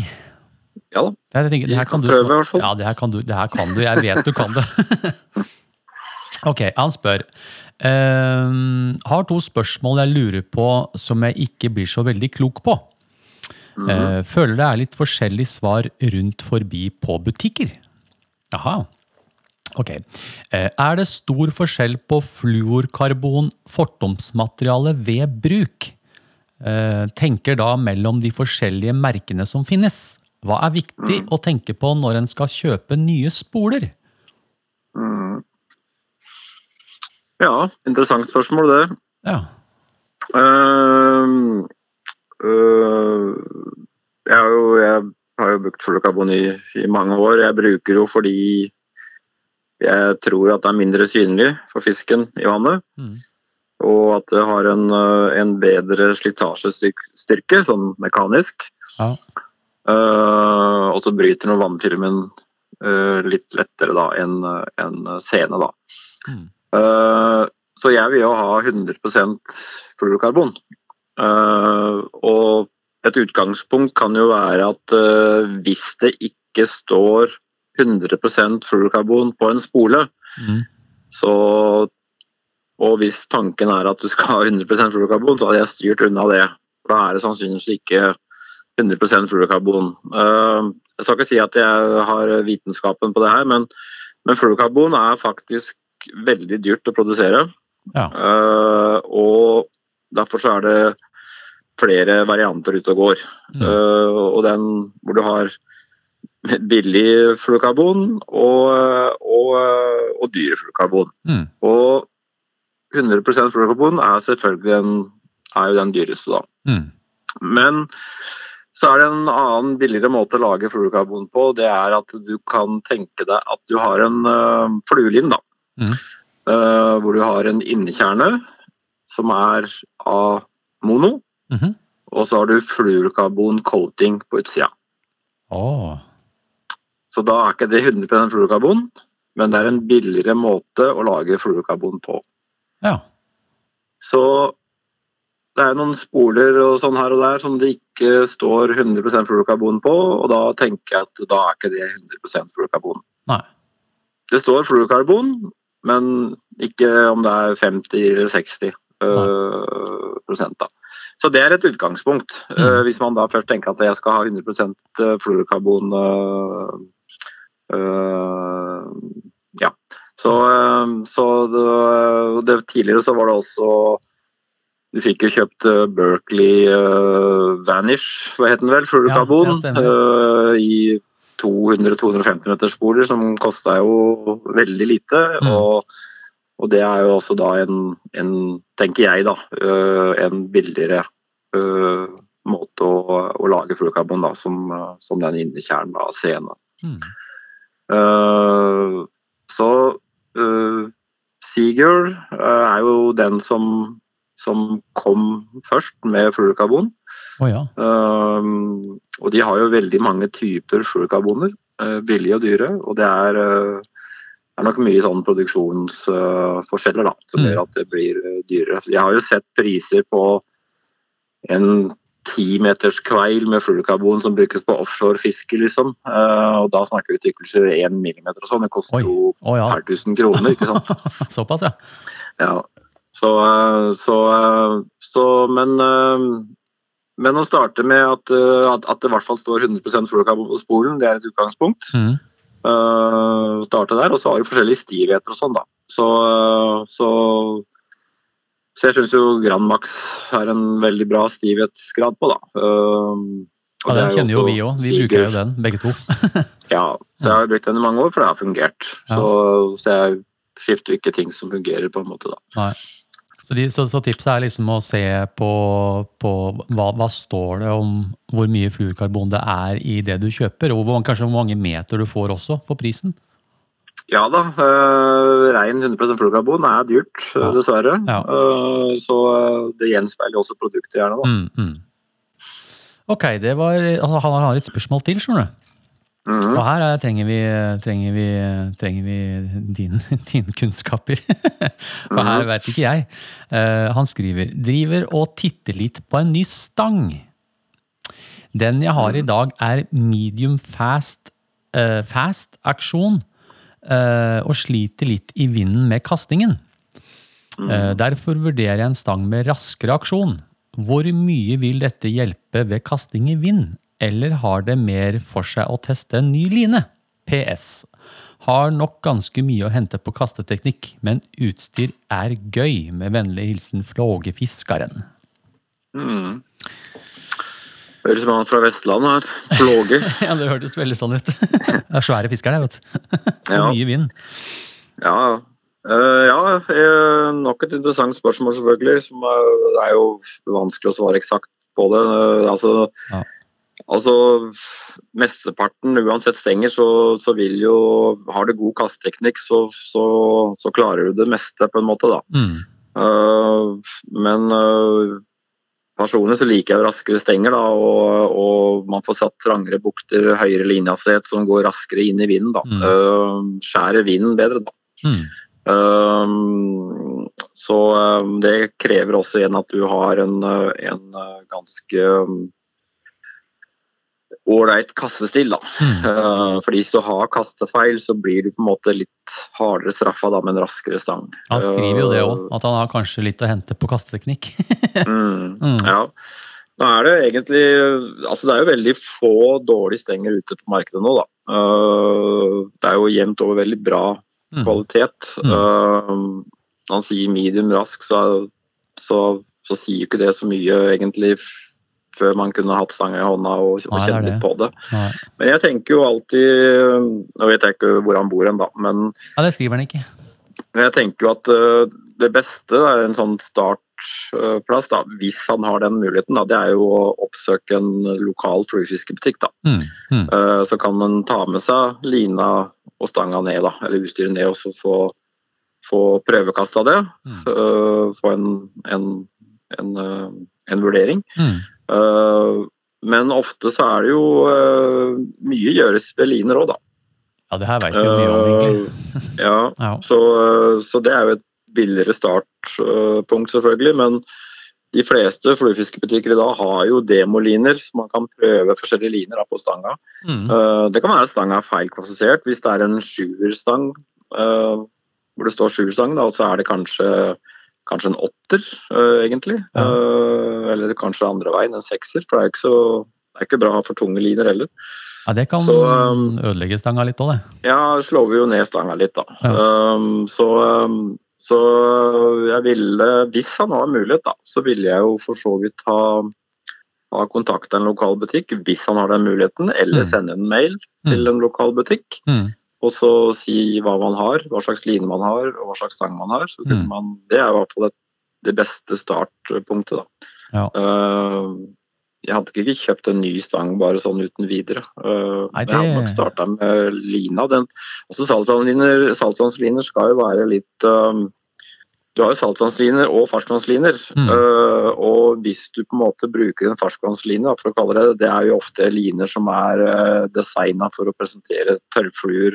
S8: Ja da.
S2: Det her, tenker, det her kan du
S8: Prøve,
S2: svare-
S8: i hvert fall.
S2: Ja, det her kan du. Det her kan du. Jeg vet du kan det. ok, han spør. ehm, har to spørsmål jeg lurer på som jeg ikke blir så veldig klok på.
S8: Mhm.
S2: Eh, føler det er litt forskjellig svar rundt forbi på butikker. Jaha. Ok. Eh, er det stor forskjell på fluorkarbon fortomsmateriale ved bruk? Eh, tenker da mellom de forskjellige merkene som finnes. Hva er viktig å tenke på når en skal kjøpe nye spoler?
S8: Ja, interessant spørsmål, det.
S2: Ja.
S8: Ehm, øh, jeg, har jo, jeg har jo brukt fluorkarbon i, i mange år. Jeg bruker jo fordi jeg tror at det er mindre synlig for fisken i vannet.
S2: Mm.
S8: Og at det har en, øh, en bedre slitasjestyrke, sånn mekanisk.
S2: Ja.
S8: Eh, og så bryter noe vannfilmen eh, litt lettere da enn en sene, da.
S2: Mm.
S8: Eh, så jeg vil jo ha 100 fluorkarbon. Eh, og et utgangspunkt kan jo være at eh, hvis det ikke står 100 fluorkarbon på en spole,
S2: Mm.
S8: så Og hvis tanken er at du skal ha 100 fluorkarbon, så hadde jeg styrt unna det. Da er det sannsynligvis ikke 100 fluorkarbon. Eh, jeg skal ikke si at jeg har vitenskapen på det her, men, men fluorkarbon er faktisk veldig dyrt å produsere.
S2: Ja.
S8: Eh, og derfor så er det flere varianter ute og går.
S2: Mm.
S8: Eh, og den hvor du har billig fluorkarbon og, og, og dyre fluorkarbon.
S2: Mm.
S8: Og 100 fluorkarbon er selvfølgelig den, er jo den dyreste, da.
S2: Mm.
S8: Men så er det en annen billigere måte å lage fluorkarbon på. Det er at du kan tenke deg at du har en uh, fluelin, da.
S2: Mhm.
S8: Eh, hvor du har en innekjerne som er av mono.
S2: Mhm.
S8: Og så har du fluorkarbon-coating på utsida.
S2: Åh.
S8: Så da er ikke det 100 fluorkarbon, men det er en billigere måte å lage fluorkarbon på.
S2: Ja.
S8: Så det er noen spoler og sånn her og der som det ikke står 100 fluorkarbon på, og da tenker jeg at da er ikke det 100 fluorkarbon.
S2: Nei.
S8: Det står fluorkarbon, men ikke om det er 50 eller 60 øh, prosent, da. Så det er et utgangspunkt, øh, hvis man da først tenker at jeg skal ha 100 fluorkarbon. Øh, øh, ja. Så, øh, så det, det, tidligere så var det også du fikk jo kjøpt eh, Berkeley eh, Vanish, hva het den vel, fluorkarbon,
S2: Ja, ja, stemmer.
S8: eh, i 200-250 meters spoler, som kosta jo veldig lite.
S2: Mm.
S8: Og, og det er jo også da en, en tenker jeg, da, eh, en billigere eh, måte å, å lage fluorkarbon da, som, eh, som den innekjernen av scenen.
S2: Mm.
S8: Eh, så uh, Seagull eh, er jo den som, som kom først med fluorkarbon.
S2: Å ja.
S8: Um, og de har jo veldig mange typer fluorkarboner, eh, billige og dyre. Og det er, eh, det er nok mye sånn produksjonsforskjeller da, som
S2: Mm.
S8: gjør at det blir eh, dyrere. Så jeg har jo sett priser på en timeters kveil med fluorkarbon som brukes på offshorefiske, liksom. Eh, og da snakker vi tykkelser én millimeter og sånn. Det koster
S2: Oi.
S8: jo
S2: Å ja.
S8: per tusen kroner, ikke sant.
S2: Såpass, ja.
S8: Ja. Så, eh, så, eh, så men, eh, men å starte med at, eh, at, at det i hvert fall står 100 fluorkarbon på spolen, det er et utgangspunkt.
S2: Mm.
S8: Eh, starte der, og så har du forskjellige stivheter og sånn, da. Så, eh, så, så jeg syns jo Grand Max er en veldig bra stivhetsgrad på, da. Eh, og
S2: ja.
S8: det er
S2: Den kjenner jo
S8: også
S2: vi òg. Vi
S8: Seagull.
S2: bruker jo den, begge to.
S8: Ja, så jeg har brukt den i mange år, for det har fungert.
S2: Ja.
S8: Så, så jeg skifter jo ikke ting som fungerer, på en måte, da.
S2: Nei. Så, de, så, så tipset er liksom å se på, på hva, hva står det om hvor mye fluorkarbon det er i det du kjøper, og hvor, kanskje hvor mange meter du får også for prisen.
S8: Ja da, eh, rein 100 fluorkarbon er dyrt, eh,
S2: Ja.
S8: dessverre.
S2: Ja.
S8: Eh, så eh, det gjenspeiler også produktet gjerne, da.
S2: Mm, mm. Ok, det var, altså, han har et spørsmål til, skjønner du. Og her er, trenger, vi, trenger, vi, trenger vi din, dine kunnskaper. For her vet ikke jeg. Eh, han skriver Driver og titter litt på en ny stang. Den jeg har i dag er medium fast, eh, fast aksjon eh, og sliter litt i vinden med kastingen. Eh, derfor vurderer jeg en stang med raskere aksjon. Hvor mye vil dette hjelpe ved kasting i vind? Eller har det mer for seg å teste en ny line? PS. Har nok ganske mye å hente på kasteteknikk, men utstyr er gøy. Med vennlig hilsen flågefiskeren.
S8: Mm. Høres ut som han fra Vestlandet her. Flåge.
S2: Ja, det hørtes veldig sånn ut. Det er svære fisker der, vet du.
S8: Ja.
S2: Og mye vind.
S8: Ja, ja. Eh, ja eh, nok et interessant spørsmål, selvfølgelig. Som er, det er jo vanskelig å svare eksakt på det. Eh, altså,
S2: Ja.
S8: altså Mesteparten, uansett stenger, så, så vil jo Har du god kasteteknikk, så, så, så klarer du det meste, på en måte, da.
S2: Mm.
S8: Eh, men eh, personlig så liker jeg jo raskere stenger, da. Og, og man får satt trangere bukter, høyere linjehastighet som går raskere inn i vinden, da.
S2: Mm.
S8: Eh, skjærer vinden bedre, da.
S2: Mm.
S8: Um, så um, det krever også igjen at du har en, uh, en uh, ganske um, ålreit kastestil, da.
S2: Mm.
S8: Uh, fordi hvis du har kastefeil, så blir du på en måte litt hardere straffa da, med en raskere stang.
S2: Han skriver jo det òg,
S8: Uh,
S2: at han har kanskje litt å hente på kasteteknikk.
S8: Mm,
S2: Mm.
S8: ja. Nå er det egentlig Altså, det er jo veldig få dårlige stenger ute på markedet nå, da. Uh, det er jo jevnt over veldig bra
S2: Mm.
S8: kvalitet.
S2: Mm.
S8: Uh, han sier medium rask, så, så, så sier jo ikke det så mye egentlig f- før man kunne hatt stanga i hånda og, og
S2: Nei, det er
S8: kjenne litt
S2: det.
S8: på det.
S2: Nei.
S8: Men jeg tenker jo alltid øh, Nå vet jeg ikke hvor han bor hen, da, men
S2: Ja, det skriver han ikke.
S8: men jeg tenker jo at øh, det beste er en sånn startplass, da, hvis han har den muligheten, da, det er jo å oppsøke en lokal fluefiskebutikk. da.
S2: Mm. Mm.
S8: Eh, Så kan man ta med seg lina og stanga ned, da, eller utstyret ned, og så få, få prøvekasta det.
S2: Mm.
S8: øh, Få en, en, en, øh, en vurdering.
S2: Mm.
S8: Eh, Men ofte så er det jo øh, Mye gjøres ved liner òg, da.
S2: Ja, det her veit vi jo mye om, egentlig.
S8: Eh, Ja,
S2: Ja.
S8: så, øh, så det er jo et billigere startpunkt, selvfølgelig. Men de fleste fluefiskebutikker i dag har jo demoliner, så man kan prøve forskjellige liner da, på stanga.
S2: Mm.
S8: Eh, Det kan være at stanga er feilklassifisert. Hvis det er en sjuerstang eh, hvor det står sjuerstang, da, og så er det kanskje, kanskje en åtter, eh, egentlig.
S2: Ja.
S8: Eh, Eller kanskje andre veien, en sekser. For det er jo ikke, så, det er ikke bra for tunge liner heller.
S2: Ja, det kan
S8: Så, um,
S2: ødelegge stanga litt òg, det.
S8: Ja, slår vi jo ned stanga litt, da.
S2: Ja.
S8: Um, så, um, så jeg ville, hvis han har mulighet, da, så ville jeg jo for så vidt ha, ha kontakta en lokal butikk, hvis han har den muligheten, eller
S2: Mm.
S8: sende en mail til
S2: Mm.
S8: en lokal butikk.
S2: Mm.
S8: Og så si hva man har, hva slags line man har, og hva slags stang man har. Så kunne
S2: Mm.
S8: man, det er i hvert fall et, det beste startpunktet, da.
S2: Ja.
S8: Uh, jeg hadde ikke kjøpt en ny stang bare sånn uten videre. Uh,
S2: Nei,
S8: men Jeg hadde nok
S2: det-
S8: starta med lina. Den, også saltvannliner, saltvannsliner skal jo være litt um, Du har jo saltvannsliner og ferskvannsliner.
S2: Mm.
S8: Uh, og hvis du på en måte bruker en ferskvannsline, da, for å kalle det det, det er jo ofte liner som er uh, designa for å presentere tørrfluer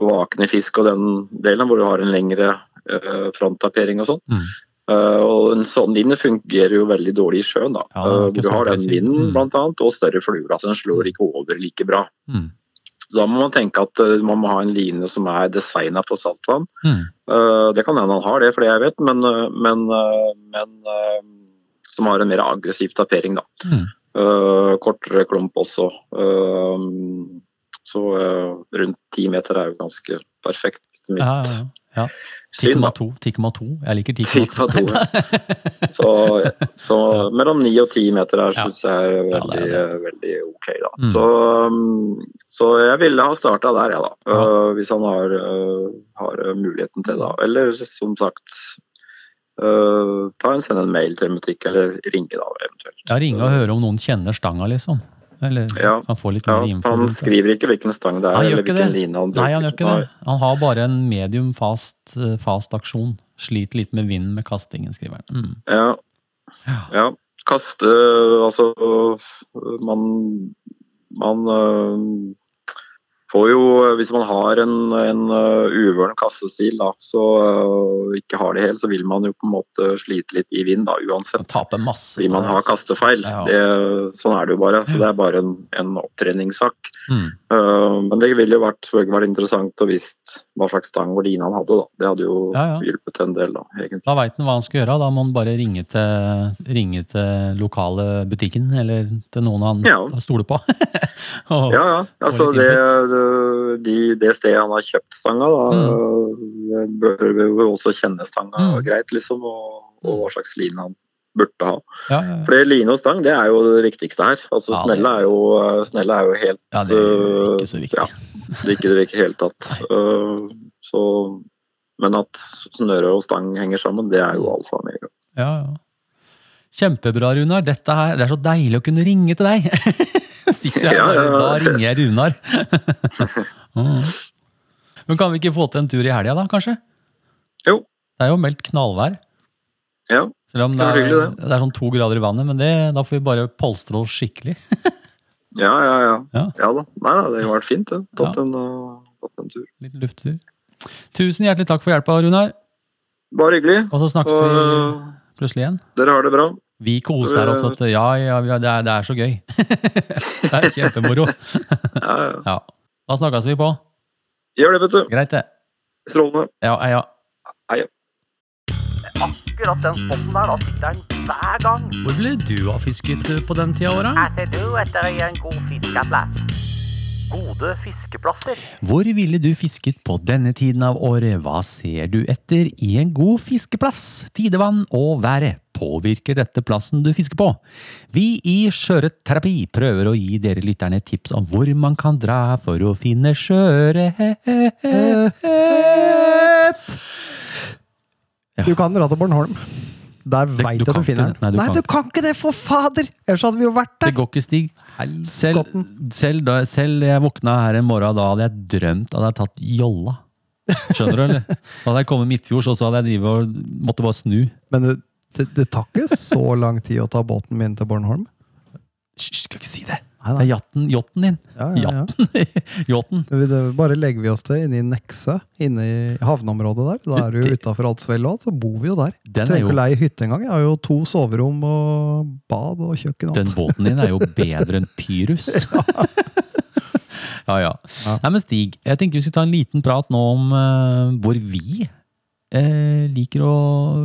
S8: og vakne fisk og den delen, hvor du har en lengre uh, fronttapering og sånn.
S2: Mm.
S8: Eh, og en sånn line fungerer jo veldig dårlig i sjøen, da.
S2: Ja, det var
S8: Eh,
S2: ikke
S8: du
S2: så
S8: har den
S2: aggressiv.
S8: vinden,
S2: Mm.
S8: blant annet, og større fluer. Altså den slår ikke over like bra.
S2: Mm.
S8: Så da må man tenke at eh, man må ha en line som er designa for saltvann.
S2: Mm.
S8: Eh, det kan hende han har det, for det jeg vet, men, eh, men, eh, men eh, som har en mer aggressiv tapering, da.
S2: Mm.
S8: Eh, kortere klump også. Eh, så eh, rundt ti meter er jo ganske perfekt. etter mitt
S2: Ja, ja, ja.
S8: syn, da.
S2: 10,2. 10,2. Jeg liker 10,2.
S8: 10,2. Så, så mellom 9 og 10 meter her syns jeg er
S2: Ja,
S8: veldig,
S2: det er
S8: veldig ok. Da.
S2: Mm.
S8: Så, um, så jeg ville ha starta der, jeg, da. Eh, Uh, hvis han har, uh, har muligheten til det. da. Eller som sagt eh, ta en, send en mail til Hermetikk, eller ringe da eventuelt.
S2: Ja, Ringe og høre om noen kjenner stanga, liksom. Eller
S8: Ja.
S2: kan få litt
S8: Ja,
S2: mer info.
S8: han
S2: rundt det.
S8: skriver ikke hvilken stang det er,
S2: Han gjør
S8: eller
S2: ikke
S8: hvilken
S2: det.
S8: line han bruker.
S2: Nei, han gjør ikke det. Han har bare en medium fast, eh, fast aksjon. Sliter litt med vinden med kastingen, skriver han. Mm.
S8: Ja. ja. Kaste øh, Altså, øh, man Man øh, får jo øh, Hvis man har en, en øh, uvøren kastestil, da, så øh, ikke har det helt, så vil man jo på en måte slite litt i vind, da, uansett.
S2: Han taper masse. altså.
S8: Fordi man har kastefeil.
S2: Ja.
S8: Det, sånn er det jo bare. Så det er bare en, en opptreningssak.
S2: Mm.
S8: Uh, men det ville jo vært, selvfølgelig vært interessant å visst hva slags stang og line han hadde. da. Det hadde jo
S2: Ja, ja.
S8: hjulpet en del, da, egentlig.
S2: Da veit han hva han skal gjøre. Da må han bare ringe til, ringe til lokale butikken, eller til noen han
S8: Ja.
S2: stoler på. og,
S8: Ja, ja. Altså,
S2: litt
S8: det, det- de, det stedet han har kjøpt stanga, da, eh, bør jo også kjenne stanga
S2: Mm.
S8: greit, liksom, og, og hva slags line han burde ha.
S2: ja, ja,
S8: For det line og stang, det er jo det viktigste her. Altså,
S2: Ja, det-
S8: snelle, er jo, eh, snelle er jo helt
S2: ja, det er jo ikke så viktig.
S8: ja, det er ikke det i det hele tatt. Uh, så, men at snøre og stang henger sammen, det er jo alfa og omega.
S2: Ja, ja. Kjempebra, Runar. Dette her, det er så deilig å kunne ringe til deg! Sitter jeg
S8: Ja,
S2: bare,
S8: ja, ja.
S2: Da ringer jeg Runar. Mm. Men kan vi ikke få til en tur i helga, da, kanskje?
S8: Jo.
S2: Det er jo meldt knallvær.
S8: Ja,
S2: Selv om det
S8: Det
S2: er,
S8: var
S2: det.
S8: hyggelig,
S2: er sånn to grader i vannet, men det, da får vi bare polstre oss skikkelig.
S8: ja, ja. ja. ja.
S2: Ja.
S8: da. Nei, nei, det har vært fint, det. Tatt,
S2: Ja.
S8: en, uh, tatt en tur.
S2: Litt lufttur. Tusen hjertelig takk for hjelpa, Runar.
S8: Bare hyggelig.
S2: Og så snakkes
S8: Og eh,
S2: vi plutselig igjen.
S8: dere har det bra.
S2: Vi koser oss. At, ja, ja, ja det, er, det er så gøy. det er kjempemoro.
S8: Ja, ja.
S2: Ja. Da snakkes vi på.
S8: Gjør det, vet du.
S2: Greit, det.
S8: Strålende.
S2: Ja, ja.
S3: Akkurat den spotten der, da sitter den hver gang.
S1: Hvor ble du av fisket eh, på den tida av året?
S3: Her ser du etter en god fiskeplass. Gode fiskeplasser.
S2: Hvor ville du fisket på denne tiden av året? Hva ser du etter i en god fiskeplass? Tidevann og været. Påvirker dette plassen du fisker på? Vi i Sjøørretterapi prøver å gi dere lytterne tips om hvor man kan dra for å finne
S6: Eh,
S2: sjøørret.
S6: Et.
S2: Ja.
S6: Du kan dra til Bornholm. Der
S2: du
S6: veit jeg du
S2: kan
S6: finner
S2: ikke det. Nei,
S6: den.
S2: du
S6: Nei,
S2: kan
S6: du kan ikke det, for fader! Ellers hadde vi jo vært
S2: Det
S6: der.
S2: går ikke, Stig. Selv, selv, da, selv jeg våkna her en morgen, da hadde jeg drømt at jeg hadde tatt jolla. Skjønner du, eller? Da hadde jeg kommet midtfjords, og så hadde jeg drivet og måtte bare snu.
S6: Men det, det, det tar ikke så lang tid å ta båten min til Bornholm.
S2: Hysj, hysj, skal ikke si det!
S6: Nei,
S2: Det
S6: nei.
S2: er jatten, jotten din.
S6: Ja, ja, ja.
S2: Yachten.
S6: Vi- det- Bare legger vi oss til inne i Nekse, inne i havneområdet der. Da er du jo
S2: det-
S6: utafor Adsvell og alt, så bor vi jo der.
S2: Den, er
S6: Trenger ikke
S2: jo,
S6: å leie hytte engang. Jeg har jo to soverom og bad og kjøkken. og
S2: den
S6: alt.
S2: båten din er jo bedre enn Pyrus. ja, ja. Nei, men Stig, jeg tenkte vi skulle ta en liten prat nå om eh, hvor vi eh, liker å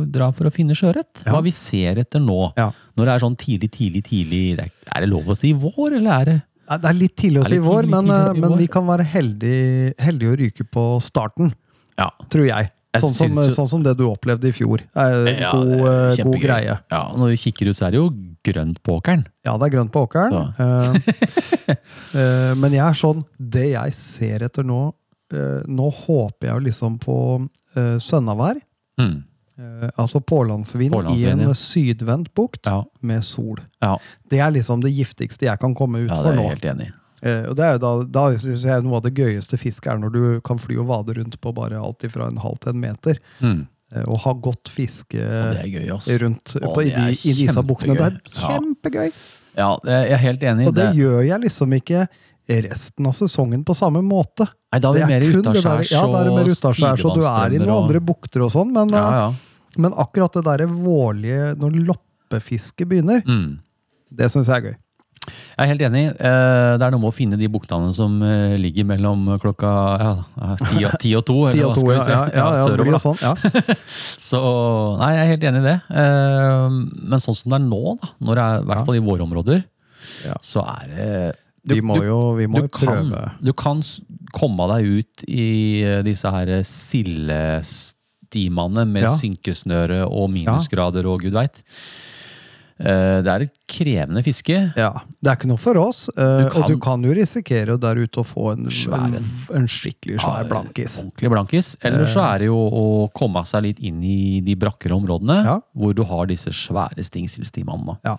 S2: dra for å finne sjøørret. Hva vi ser etter nå.
S6: Ja.
S2: Når det er sånn tidlig, tidlig, tidlig det Er er det lov å si vår, eller er det
S6: Nei, Det er litt tidlig å
S2: Det er
S6: si
S2: litt
S6: vår,
S2: tidlig,
S6: men,
S2: tidlig å
S6: eh,
S2: si
S6: men
S2: vår.
S6: vi kan være heldige, heldige å ryke på starten,
S2: Ja.
S6: tror jeg.
S2: Jeg
S6: Sånn som,
S2: synes jo-
S6: sånn som det du opplevde i fjor. Er en
S2: Ja,
S6: god,
S2: det er
S6: eh, god
S2: kjempegøy.
S6: greie.
S2: ja. Når vi kikker ut, så er det jo grønt på åkeren.
S6: Ja, det er grønt på åkeren. eh, eh, men jeg er sånn Det jeg ser etter nå eh, Nå håper jeg jo liksom på eh, sønnavær.
S2: Mm.
S6: eh, altså pålandsvind, i
S2: Pålandsvind,
S6: en
S2: ja.
S6: sydvendt bukt
S2: Ja.
S6: med sol.
S2: Ja.
S6: Det er liksom det giftigste jeg kan komme ut
S2: ja, det
S6: for
S2: er
S6: nå.
S2: jeg helt enig i.
S6: Eh, og det er jo da, da synes jeg noe av det gøyeste fisket er når du kan fly og vade rundt på bare alt fra en halv til en meter.
S2: Mm.
S6: eh, og ha godt fiske
S2: Det er gøy, ass.
S6: rundt
S2: Å,
S6: på,
S2: det
S6: i,
S2: er
S6: de, i disse buktene. Det er
S2: kjempegøy. Ja.
S6: kjempegøy!
S2: Ja, jeg er helt enig. i
S6: Og det gjør jeg liksom ikke resten av sesongen på samme måte.
S2: Nei, da er vi mer
S6: kun det der-
S2: utaskjærs
S6: ja, da er det
S2: og
S6: mer utaskjærs, og du er i
S2: tidevannsstrømmer
S6: noen
S2: og-
S6: andre bukter og sånn, men,
S2: Ja,
S6: eh,
S2: ja.
S6: men akkurat det derre vårlige når loppefisket begynner,
S2: Mm.
S6: det syns jeg er gøy.
S2: Jeg er helt enig. Eh, Det er noe med å finne de buktene som eh, ligger mellom klokka ja, ti, og- ti og to.
S6: Ti
S2: eller hva
S6: og to,
S2: skal vi
S6: ja.
S2: si?
S6: ja, ja, ja, det
S2: sørover,
S6: blir
S2: da.
S6: jo sånn. Ja.
S2: Så nei, jeg er helt enig i det. Eh, Men sånn som det er nå, da, når det er, i hvert fall i våre områder,
S6: Ja.
S2: så er det
S6: Vi må jo, vi må
S2: du
S6: jo prøve.
S2: Kan, du kan s- komme deg ut i eh, disse her eh, sildestimene med
S6: Ja.
S2: synkesnøre og minusgrader og gud veit. Eh, Det er et krevende fiske.
S6: Ja, Det er ikke noe for oss. eh,
S2: Du kan-
S6: og du kan jo risikere der ute å få en,
S2: Svær en.
S6: en, en skikkelig svær blankis.
S2: Ordentlig blankis. Eller
S6: Eh.
S2: så er det jo å komme seg litt inn i de brakkere områdene
S6: Ja.
S2: hvor du har disse svære stingsilstimene.
S6: Ja.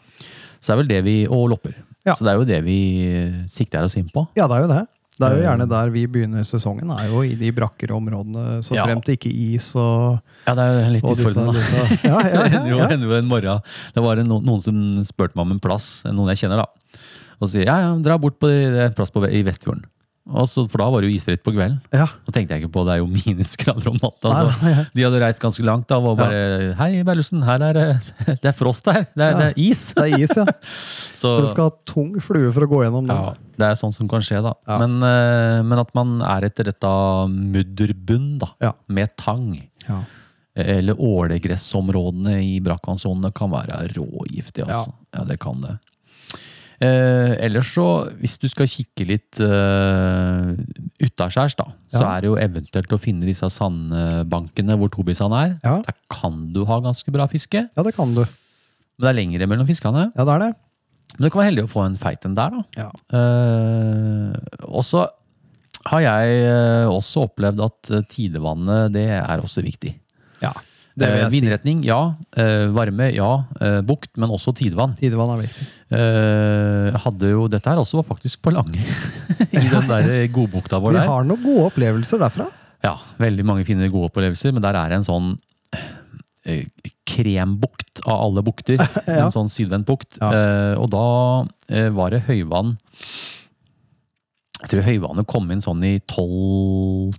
S2: Så er vel det vi Og lopper.
S6: Ja.
S2: Så det er jo det vi eh, sikter oss inn på.
S6: ja, det er jo det. Det er jo gjerne
S2: Eh.
S6: der vi begynner sesongen, er jo i de brakkere områdene. Så
S2: Ja.
S6: fremt det ikke er is og,
S2: Ja, det er jo litt
S6: og
S2: utfordrende. da.
S6: disse- Ja, ja,
S2: Det
S6: ja,
S2: hender jo,
S6: ja.
S2: hender jo en morgen Det var en, noen som spurte meg om en plass, noen jeg kjenner, da. Og sier ja, ja, dra bort på det er en plass på, i Vestfjorden. Og så, for da var det jo isfritt på kvelden.
S6: ja.
S2: Da tenkte jeg ikke på det er jo minusgrader om natta.
S6: Nei,
S2: Så
S6: nei, ja.
S2: de hadde reist ganske langt da, og var bare Hei, Berlusen, her er eh, det Det er frost her! Det er, det er is!
S6: Det er is, ja.
S2: Så
S6: Du skal ha tung flue for å gå gjennom den.
S2: ja, det er sånn som kan skje, da.
S6: Ja.
S2: Men, eh, men at man er etter dette mudderbunn, da.
S6: Ja.
S2: Med tang.
S6: Ja.
S2: Eller ålegressområdene i brakkvannsonene kan være rågiftig. Altså. Ja. det kan det. Eh, ellers så, hvis du skal kikke litt eh, utaskjærs, da, så
S6: Ja.
S2: er det jo eventuelt å finne disse sandbankene hvor tobisene er.
S6: Ja.
S2: Der kan du ha ganske bra fiske,
S6: ja, det kan du.
S2: men det er lengre mellom fiskene.
S6: Ja, det er det.
S2: Men du kan være heldig å få en feit en der, da.
S6: Ja.
S2: Eh, og så har jeg eh, også opplevd at eh, tidevannet, det er også viktig.
S6: Ja, det vil
S2: Eh,
S6: jeg si.
S2: Vindretning, ja. Eh, varme, ja. Eh, bukt, men også tidevann.
S6: Tidevann er viktig.
S2: Eh, hadde jo, dette her også var faktisk på Lange, i den der eh, godbukta vår
S6: Vi
S2: der.
S6: har noen gode opplevelser derfra.
S2: Ja, veldig mange fine gode opplevelser, men der er det en sånn eh, krembukt av alle bukter. En sånn sydvendt bukt.
S6: Ja.
S2: Eh, og da eh, var det høyvann jeg tror høyvannet kom inn sånn i 12-1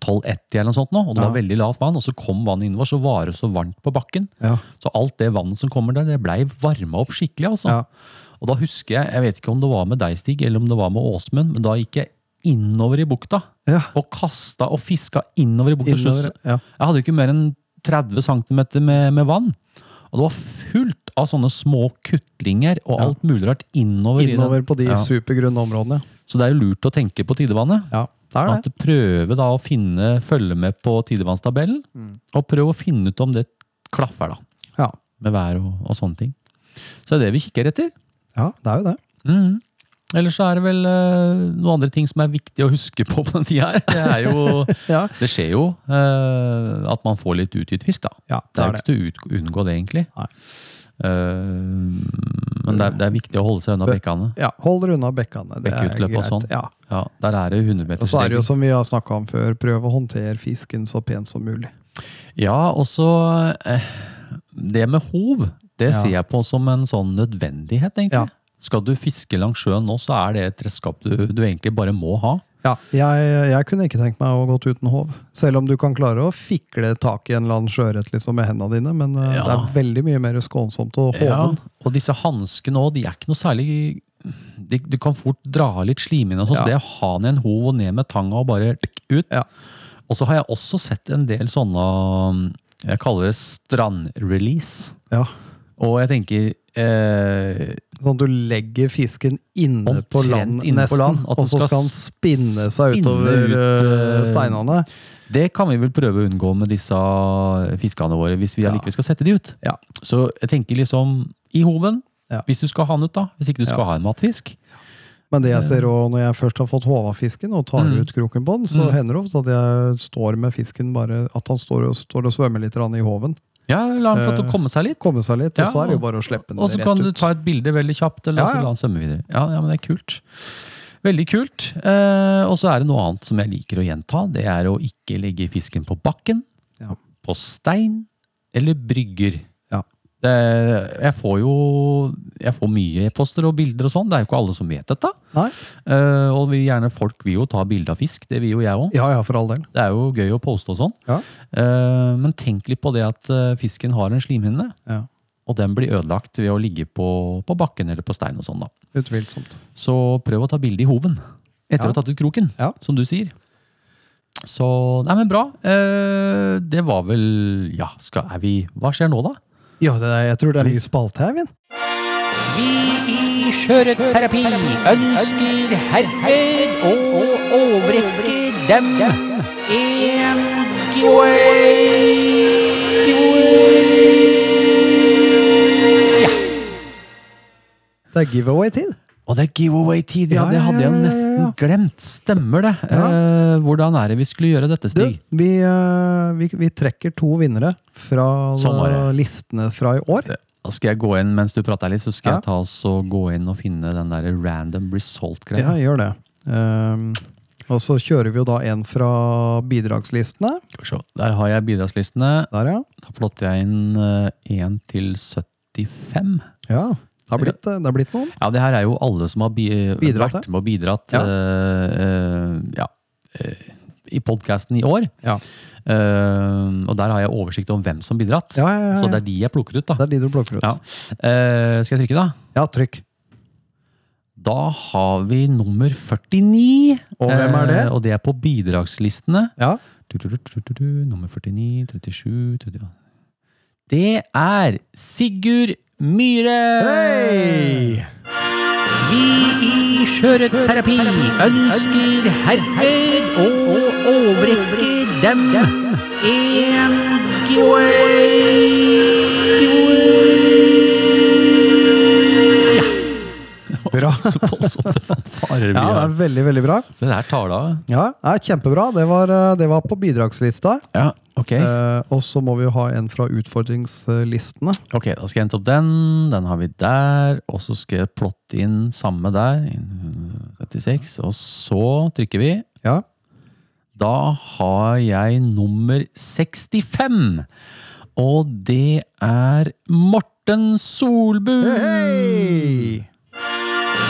S2: eller noe sånt nå, og det var
S6: Ja.
S2: veldig lavt vann, og så kom vannet innover, så var det så varmt på bakken.
S6: Ja.
S2: Så alt det vannet som kommer der, det blei varma opp skikkelig. altså.
S6: Ja.
S2: Og da husker jeg, jeg vet ikke om det var med deg, Stig, eller om det var med Åsmund, men da gikk jeg innover i bukta.
S6: Ja.
S2: Og kasta og fiska innover i bukta.
S6: Innover,
S2: Innover,
S6: ja.
S2: Jeg hadde jo ikke mer enn 30 cm med, med vann. Og det var fullt av sånne små kuttlinger og alt mulig rart innover. i den.
S6: Innover på de
S2: ja.
S6: supergrunne områdene.
S2: Så det er jo lurt å tenke på tidevannet.
S6: Ja, det er
S2: At
S6: det.
S2: du prøver da å finne, følge med på tidevannstabellen,
S6: Mm.
S2: og prøv å finne ut om det klaffer da,
S6: Ja.
S2: med vær og, og sånne ting. Så det er det vi kikker etter.
S6: ja, det er jo det.
S2: Mm. Ellers så er det vel eh, noen andre ting som er viktig å huske på på den tida her. Det, er jo,
S6: Ja.
S2: det skjer jo eh, at man får litt utgitt fisk, da.
S6: Ja,
S2: det er jo ikke
S6: det
S2: til å ut- unngå det, egentlig.
S6: Nei.
S2: Eh, men det er, det er viktig å holde seg unna
S6: Bø-
S2: bekkene.
S6: Ja, Hold dere unna bekkene. Det er
S2: Bekkeutløp og
S6: greit.
S2: sånn.
S6: Ja.
S2: Ja, der er det
S6: Og så er det jo
S2: 100-metersregel.
S6: som vi har snakka om før, prøv å håndtere fisken så pent som mulig.
S2: Ja, og så eh, Det med hov, det
S6: Ja.
S2: ser jeg på som en sånn nødvendighet, egentlig.
S6: Ja.
S2: Skal du fiske langs sjøen nå, så er det et redskap du, du egentlig bare må ha.
S6: Ja, jeg, jeg kunne ikke tenkt meg å gått uten håv. Selv om du kan klare å fikle tak i en eller annen sjøørret liksom, med hendene dine, men eh,
S2: Ja.
S6: det er veldig mye mer skånsomt å håve
S2: Ja,
S6: den.
S2: og disse hanskene òg, de er ikke noe særlig de, Du kan fort dra av litt slimhinne. og sånn, Så
S6: Ja.
S2: det å ha den i en hov og ned med tanga og bare tikk ut.
S6: Ja.
S2: Og så har jeg også sett en del sånne um, Jeg kaller det strandrelease.
S6: Ja.
S2: Og jeg tenker eh,
S6: Sånn at du legger fisken inne på
S2: Omtrent
S6: land,
S2: inne på
S6: nesten,
S2: land, at den
S6: og så
S2: skal
S6: skal den spinne seg
S2: spinne
S6: utover
S2: ut,
S6: eh,
S2: eh,
S6: steinene.
S2: Det kan vi vel prøve å unngå med disse fiskene våre, hvis vi allikevel skal sette de ut.
S6: Ja.
S2: Så jeg tenker liksom i hoven,
S6: Ja.
S2: hvis du skal ha den ut, da. Hvis ikke du skal ha en matfisk.
S6: Men det jeg ser også, når jeg først har fått håva fisken og tar
S2: Mm.
S6: ut kroken på den, så hender det ofte at jeg står med fisken bare at han står og, står og svømmer litt grann i håven.
S2: Ja, la den få
S6: Eh,
S2: lov til å komme seg litt.
S6: Komme seg litt, og
S2: Ja,
S6: så er det jo bare å slippe den
S2: Og så
S6: rett
S2: kan du
S6: ut.
S2: ta et bilde veldig kjapt, eller
S6: Ja,
S2: så
S6: ja.
S2: la han svømme videre. Ja, ja, men det er kult. Veldig kult. Eh, og så er det noe annet som jeg liker å gjenta. Det er å ikke legge fisken på bakken,
S6: Ja.
S2: på stein eller brygger.
S6: Ja.
S2: Det, jeg får jo jeg får mye e-poster og bilder og sånn. Det er jo ikke alle som vet dette.
S6: Nei?
S2: Eh, og vi gjerne folk vil jo ta bilde av fisk. Det vil jo jeg òg.
S6: Ja, ja, for all del.
S2: Det er jo gøy å poste og sånn.
S6: Ja.
S2: Eh, men tenk litt på det at eh, fisken har en slimhinne.
S6: Ja,
S2: Og den blir ødelagt ved å ligge på, på bakken eller på stein og sånn da.
S6: Utvilsomt.
S2: Så prøv å ta bilde i hoven etter
S6: Ja.
S2: å ha tatt ut kroken,
S6: Ja.
S2: som du sier. Så, nei men bra. Eh, det var vel, ja, skal, er vi, hva skjer nå da?
S6: Ja, det er, jeg tror det er en ny spalte her, Vin.
S1: Vi i Skjøreterapi ønsker herved å overrekke dem en giveaway. Ja.
S6: Det er giveaway-tid.
S2: Og det er giveaway-tid, ja,
S6: Ja,
S2: det
S6: ja,
S2: hadde
S6: ja,
S2: jeg
S6: ja,
S2: nesten
S6: ja.
S2: glemt. Stemmer det. Eh, hvordan er det vi skulle gjøre dette,
S6: Du,
S2: Stig?
S6: vi, eh, vi, vi trekker to vinnere fra
S2: Sånn var det.
S6: listene fra i år.
S2: Da skal jeg gå inn mens du prater litt, så skal
S6: Ja.
S2: jeg ta oss og gå inn og finne den der random result-greia.
S6: Ja, gjør det. Ehm, og så kjører vi jo da en fra bidragslistene.
S2: Skal vi se. Der har jeg bidragslistene.
S6: Der, ja.
S2: Da plotter jeg inn eh, 1 til 75.
S6: ja. Det har blitt, det har blitt noen.
S2: Ja, det her er jo alle som har bi
S6: Bidratt,
S2: vært
S6: ja.
S2: med og bidratt
S6: Ja.
S2: eh, eh, ja, eh, i podkasten i år.
S6: Ja.
S2: Eh, og der har jeg oversikt over hvem som bidratt.
S6: Ja, ja, ja, ja.
S2: Så det er de jeg plukker ut, da.
S6: Det er de du plukker ut.
S2: Ja.
S6: Ja,
S2: Eh, skal jeg trykke, da?
S6: trykk.
S2: Da har vi nummer 49.
S6: Og hvem er det?
S2: Eh, og det er på bidragslistene.
S6: Ja.
S2: Du, du, du, du, du, du, nummer 49, 37 38. Det er Sigurd Myhre!
S6: Hei!
S1: Vi i Skjøreterapi ønsker herved å overrekke dem en giveaway.
S6: Bra.
S2: Så voldsomt det faen farer
S6: Ja, det
S2: mye.
S6: er veldig, veldig bra.
S2: det der tar det av.
S6: Ja, det er Kjempebra. Det var, eh, det var på bidragslista.
S2: Ja, ok.
S6: Eh, og så må vi jo ha en fra utfordringslistene.
S2: Ok, da skal jeg hente opp den. Den har vi der. Og så skal jeg plotte inn samme der. 76. Og så trykker vi.
S6: Ja.
S2: Da har jeg nummer 65. Og det er Morten Solbu.
S6: Hei!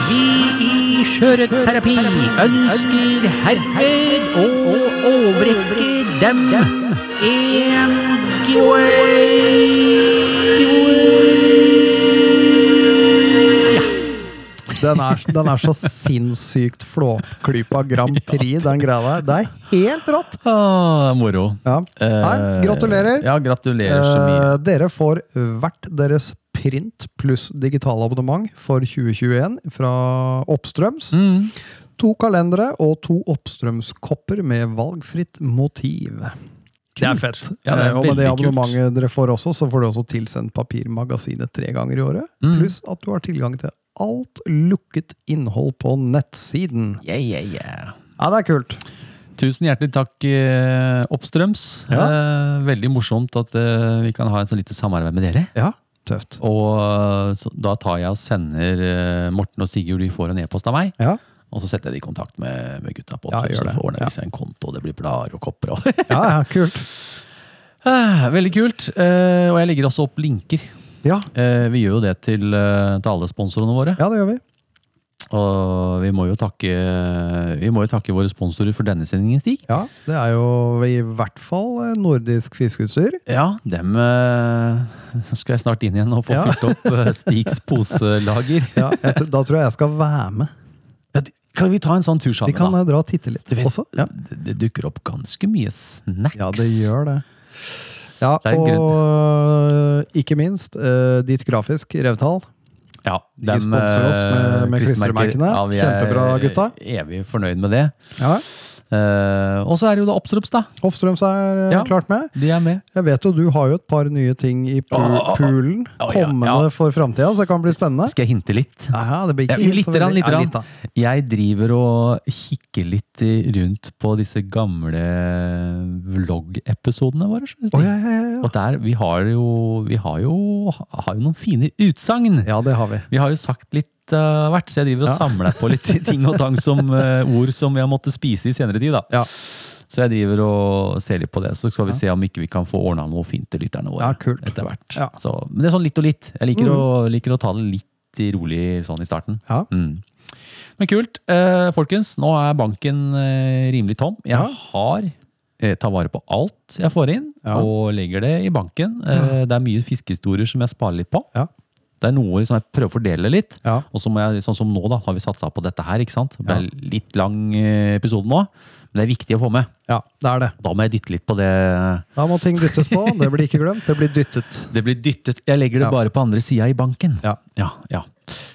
S1: Vi i Skjøreterapi ønsker herved å overrekke dem en giveaway.
S6: Den er, den er så sinnssykt flåklypa Grand Prix, den greia der. Det er helt rått!
S2: Ah, moro.
S6: Ja. Nei, gratulerer.
S2: Eh, Ja, gratulerer så mye.
S6: Eh, dere får hvert deres print pluss digital abonnement for 2021 fra Oppstrøms.
S2: Mm.
S6: To kalendere og to oppstrømskopper med valgfritt motiv. Det er fett.
S2: Ja, det er
S6: og med det
S2: veldig kult.
S6: abonnementet dere får også, så får du også tilsendt papirmagasinet tre ganger i året.
S2: Mm.
S6: Pluss at du har tilgang til alt lukket innhold på nettsiden.
S2: Yeah, yeah, yeah.
S6: Ja, det er kult.
S2: Tusen hjertelig takk, eh, Oppstrøms. Eh, veldig morsomt at eh, vi kan ha et så lite samarbeid med dere.
S6: Ja, tøft.
S2: Og eh, så, da tar jeg og sender eh, Morten og Sigurd de får en e-post av meg.
S6: Ja,
S2: Og så setter jeg det i kontakt med, med gutta på
S6: Ja,
S2: Oppstrøms.
S6: gjør
S2: så
S6: det.
S2: ordner
S6: Ja.
S2: de seg en konto, og det blir blader og kopper. Og.
S6: ja, ja kult.
S2: Ah, veldig kult. Eh, og jeg legger også opp linker.
S6: Ja.
S2: Eh, vi gjør jo det til, eh, til alle sponsorene våre.
S6: ja, det gjør vi.
S2: Og vi må, jo takke, vi må jo takke våre sponsorer for denne sendingen, Stig.
S6: Ja, det er jo i hvert fall eh, nordisk fiskeutstyr.
S2: Ja, dem eh, skal jeg snart inn igjen og få
S6: Ja.
S2: fylt opp eh, Stigs poselager.
S6: Ja, jeg, tr- da tror jeg jeg skal være med.
S2: Ja, du, Kan vi ta en sånn tur
S6: Vi
S2: sammen,
S6: kan
S2: da?
S6: eh, dra og titte litt
S2: Du vet,
S6: også. Ja.
S2: det, det dukker opp ganske mye snacks.
S6: ja, det gjør det. Ja,
S2: Det er en
S6: og eh, ikke minst eh, ditt grafisk revtall.
S2: Ja,
S6: De sponser oss med-
S2: eh,
S6: med klistremerkene.
S2: Ja, vi er
S6: Kjempebra, gutta.
S2: Evig fornøyd med det.
S6: Ja,
S2: Eh, og så er det jo da Oppstrops, da.
S6: Hofstrøms er eh,
S2: Ja.
S6: klart med.
S2: De er med.
S6: Jeg vet jo du har jo et par nye ting i pu
S2: Å, å, å.
S6: poolen
S2: Å, Ah, ja,
S6: kommende
S2: ja.
S6: for framtida, så det kan bli spennende.
S2: Skal jeg hinte litt?
S6: Ja, ja, det blir
S2: Ja,
S6: ikke helt
S2: litt,
S6: så
S2: rann,
S6: veldig-
S2: litt, rann.
S6: Ja, da.
S2: Jeg driver og kikker litt i- rundt på disse gamle vlogg-episodene våre. synes jeg.
S6: Å, ja, ja, ja, ja.
S2: Og der, vi har jo, vi har jo, har jo noen fine utsagn.
S6: ja, det har vi.
S2: Vi har jo sagt litt uh, hvert, så jeg driver og
S6: Ja.
S2: samler på litt ting og tang som eh, ord som vi har måttet spise i senere tid. da.
S6: Ja.
S2: Så jeg driver og ser litt på det, så skal vi se om ikke vi kan få ordna noe fint til lytterne våre.
S6: Ja, kult.
S2: etter hvert.
S6: Ja. Mm.
S2: Så, men det er sånn litt og litt. Jeg liker, å, liker å ta det litt rolig sånn i starten.
S6: Ja.
S2: Mm. Men kult. Eh, folkens, nå er banken eh, rimelig tom. Jeg
S6: Ja.
S2: har eh, tar vare på alt jeg får inn,
S6: Ja.
S2: og legger det i banken. Eh, det er mye fiskehistorier som jeg sparer litt på.
S6: Ja.
S2: Det er noe som jeg prøver å fordele litt.
S6: Ja.
S2: Og så må jeg, sånn som nå da, har vi satsa på dette her. ikke sant? Det ble litt lang eh, episode nå, men det er viktig å få med.
S6: ja, det er det.
S2: Da må jeg dytte litt på det.
S6: Da må ting dyttes på. Det blir ikke glemt, det blir dyttet.
S2: Det blir dyttet. Jeg legger det
S6: Ja.
S2: bare på andre sida i banken.
S6: Ja.
S2: Ja, ja.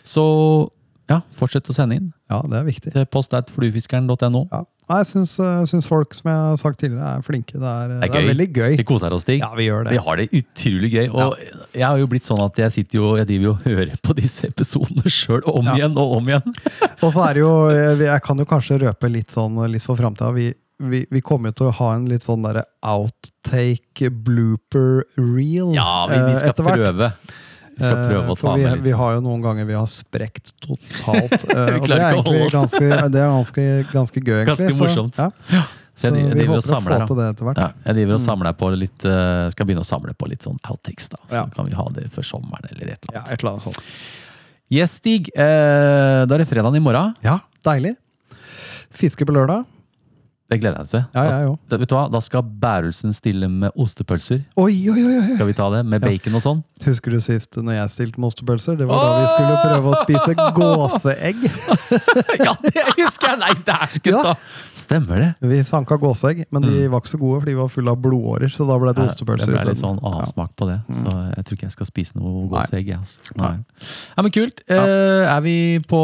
S2: Så ja, fortsett å sende inn
S6: Ja, det er viktig.
S2: til postatfluefiskeren.no.
S6: Ja. Nei, jeg syns, eh, syns folk som jeg har sagt tidligere, er flinke. Det er,
S2: Det
S6: eh,
S2: er
S6: det er
S2: gøy.
S6: veldig gøy.
S2: Vi koser oss, Stig.
S6: Ja, vi gjør det.
S2: Vi har det utrolig gøy. Og jeg har jo blitt sånn at jeg sitter jo, jeg driver jo og hører på disse episodene sjøl om igjen og om igjen.
S6: Og så er det jo, eh, vi- jeg kan jo kanskje røpe litt sånn litt for framtida. Vi, vi, vi kommer jo til å ha en litt sånn derre outtake blooper reel
S2: Ja, vi, vi
S6: eh,
S2: skal
S6: etter hvert.
S2: prøve. Vi skal
S6: Eh,
S2: prøve å
S6: for
S2: ta
S6: vi,
S2: med litt. sånn.
S6: vi har jo noen ganger vi har sprekt totalt. eh, og det er
S2: klarer ikke å holde
S6: egentlig
S2: oss.
S6: ganske, det er ganske, ganske gøy, egentlig.
S2: Ganske
S6: så-
S2: morsomt.
S6: ja.
S2: Så jeg,
S6: Så
S2: driver- jeg
S6: vi
S2: driver og
S6: håper å
S2: samler
S6: få
S2: her, da.
S6: til det Mm. etter hvert.
S2: Ja, jeg driver og samler på litt, eh, skal begynne å samle på litt sånn outtakes, da. Så
S6: Ja.
S2: kan vi ha det før sommeren eller et eller
S6: Ja,
S2: annet.
S6: et eller annet sånt.
S2: Yes, Stig. Eh, da er det fredagen i morgen.
S6: Ja, deilig. Fiske på lørdag.
S2: Det gleder jeg meg til.
S6: Ja, jeg òg.
S2: Da, vet du hva? da skal Bærelsen stille med ostepølser.
S6: Oi, oi, oi! oi.
S2: Skal vi ta det? Med bacon og sånn?
S6: Husker du sist når jeg stilte med ostepølser? Det var da vi skulle prøve å spise gåseegg.
S2: ja, det husker jeg! Nei, det er skutt,
S6: Ja.
S2: da! Stemmer det.
S6: Vi sanka gåseegg, men de
S2: Mm.
S6: var ikke så gode, for de var fulle av blodårer. Så da ble det
S2: Det
S6: ostepølser
S2: ble litt
S6: isteden.
S2: sånn annen
S6: Ja.
S2: smak på det, så jeg tror ikke jeg skal spise noe gåseegg. jeg, Altså. Nei.
S6: Nei.
S2: Ja, men kult. Eh, er vi på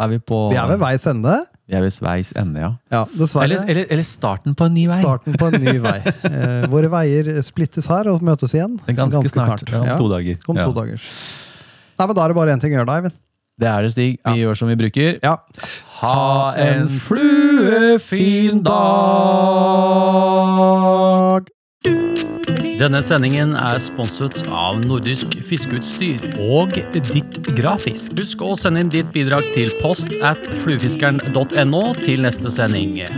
S2: Er vi på
S6: Vi er ved veis ende.
S2: Vi er ved sveis ende, ja.
S6: Ja, dessverre.
S2: Eller, eller, eller starten på en ny vei.
S6: Starten på en ny vei. Eh, våre veier splittes her og møtes igjen.
S2: Det er ganske, snart. Ja, Om
S6: Ja,
S2: to dager.
S6: Om
S2: Ja.
S6: to dager. Nei, men Da er det bare én ting å gjøre, da, Eivind.
S2: Det er det, Stig. Vi gjør som vi bruker.
S6: Ja.
S2: Ha en fluefin dag! Denne sendingen er sponset av Nordisk Fiskeutstyr og Ditt Grafisk. Husk å sende inn ditt bidrag til post at fluefiskeren.no til neste sending.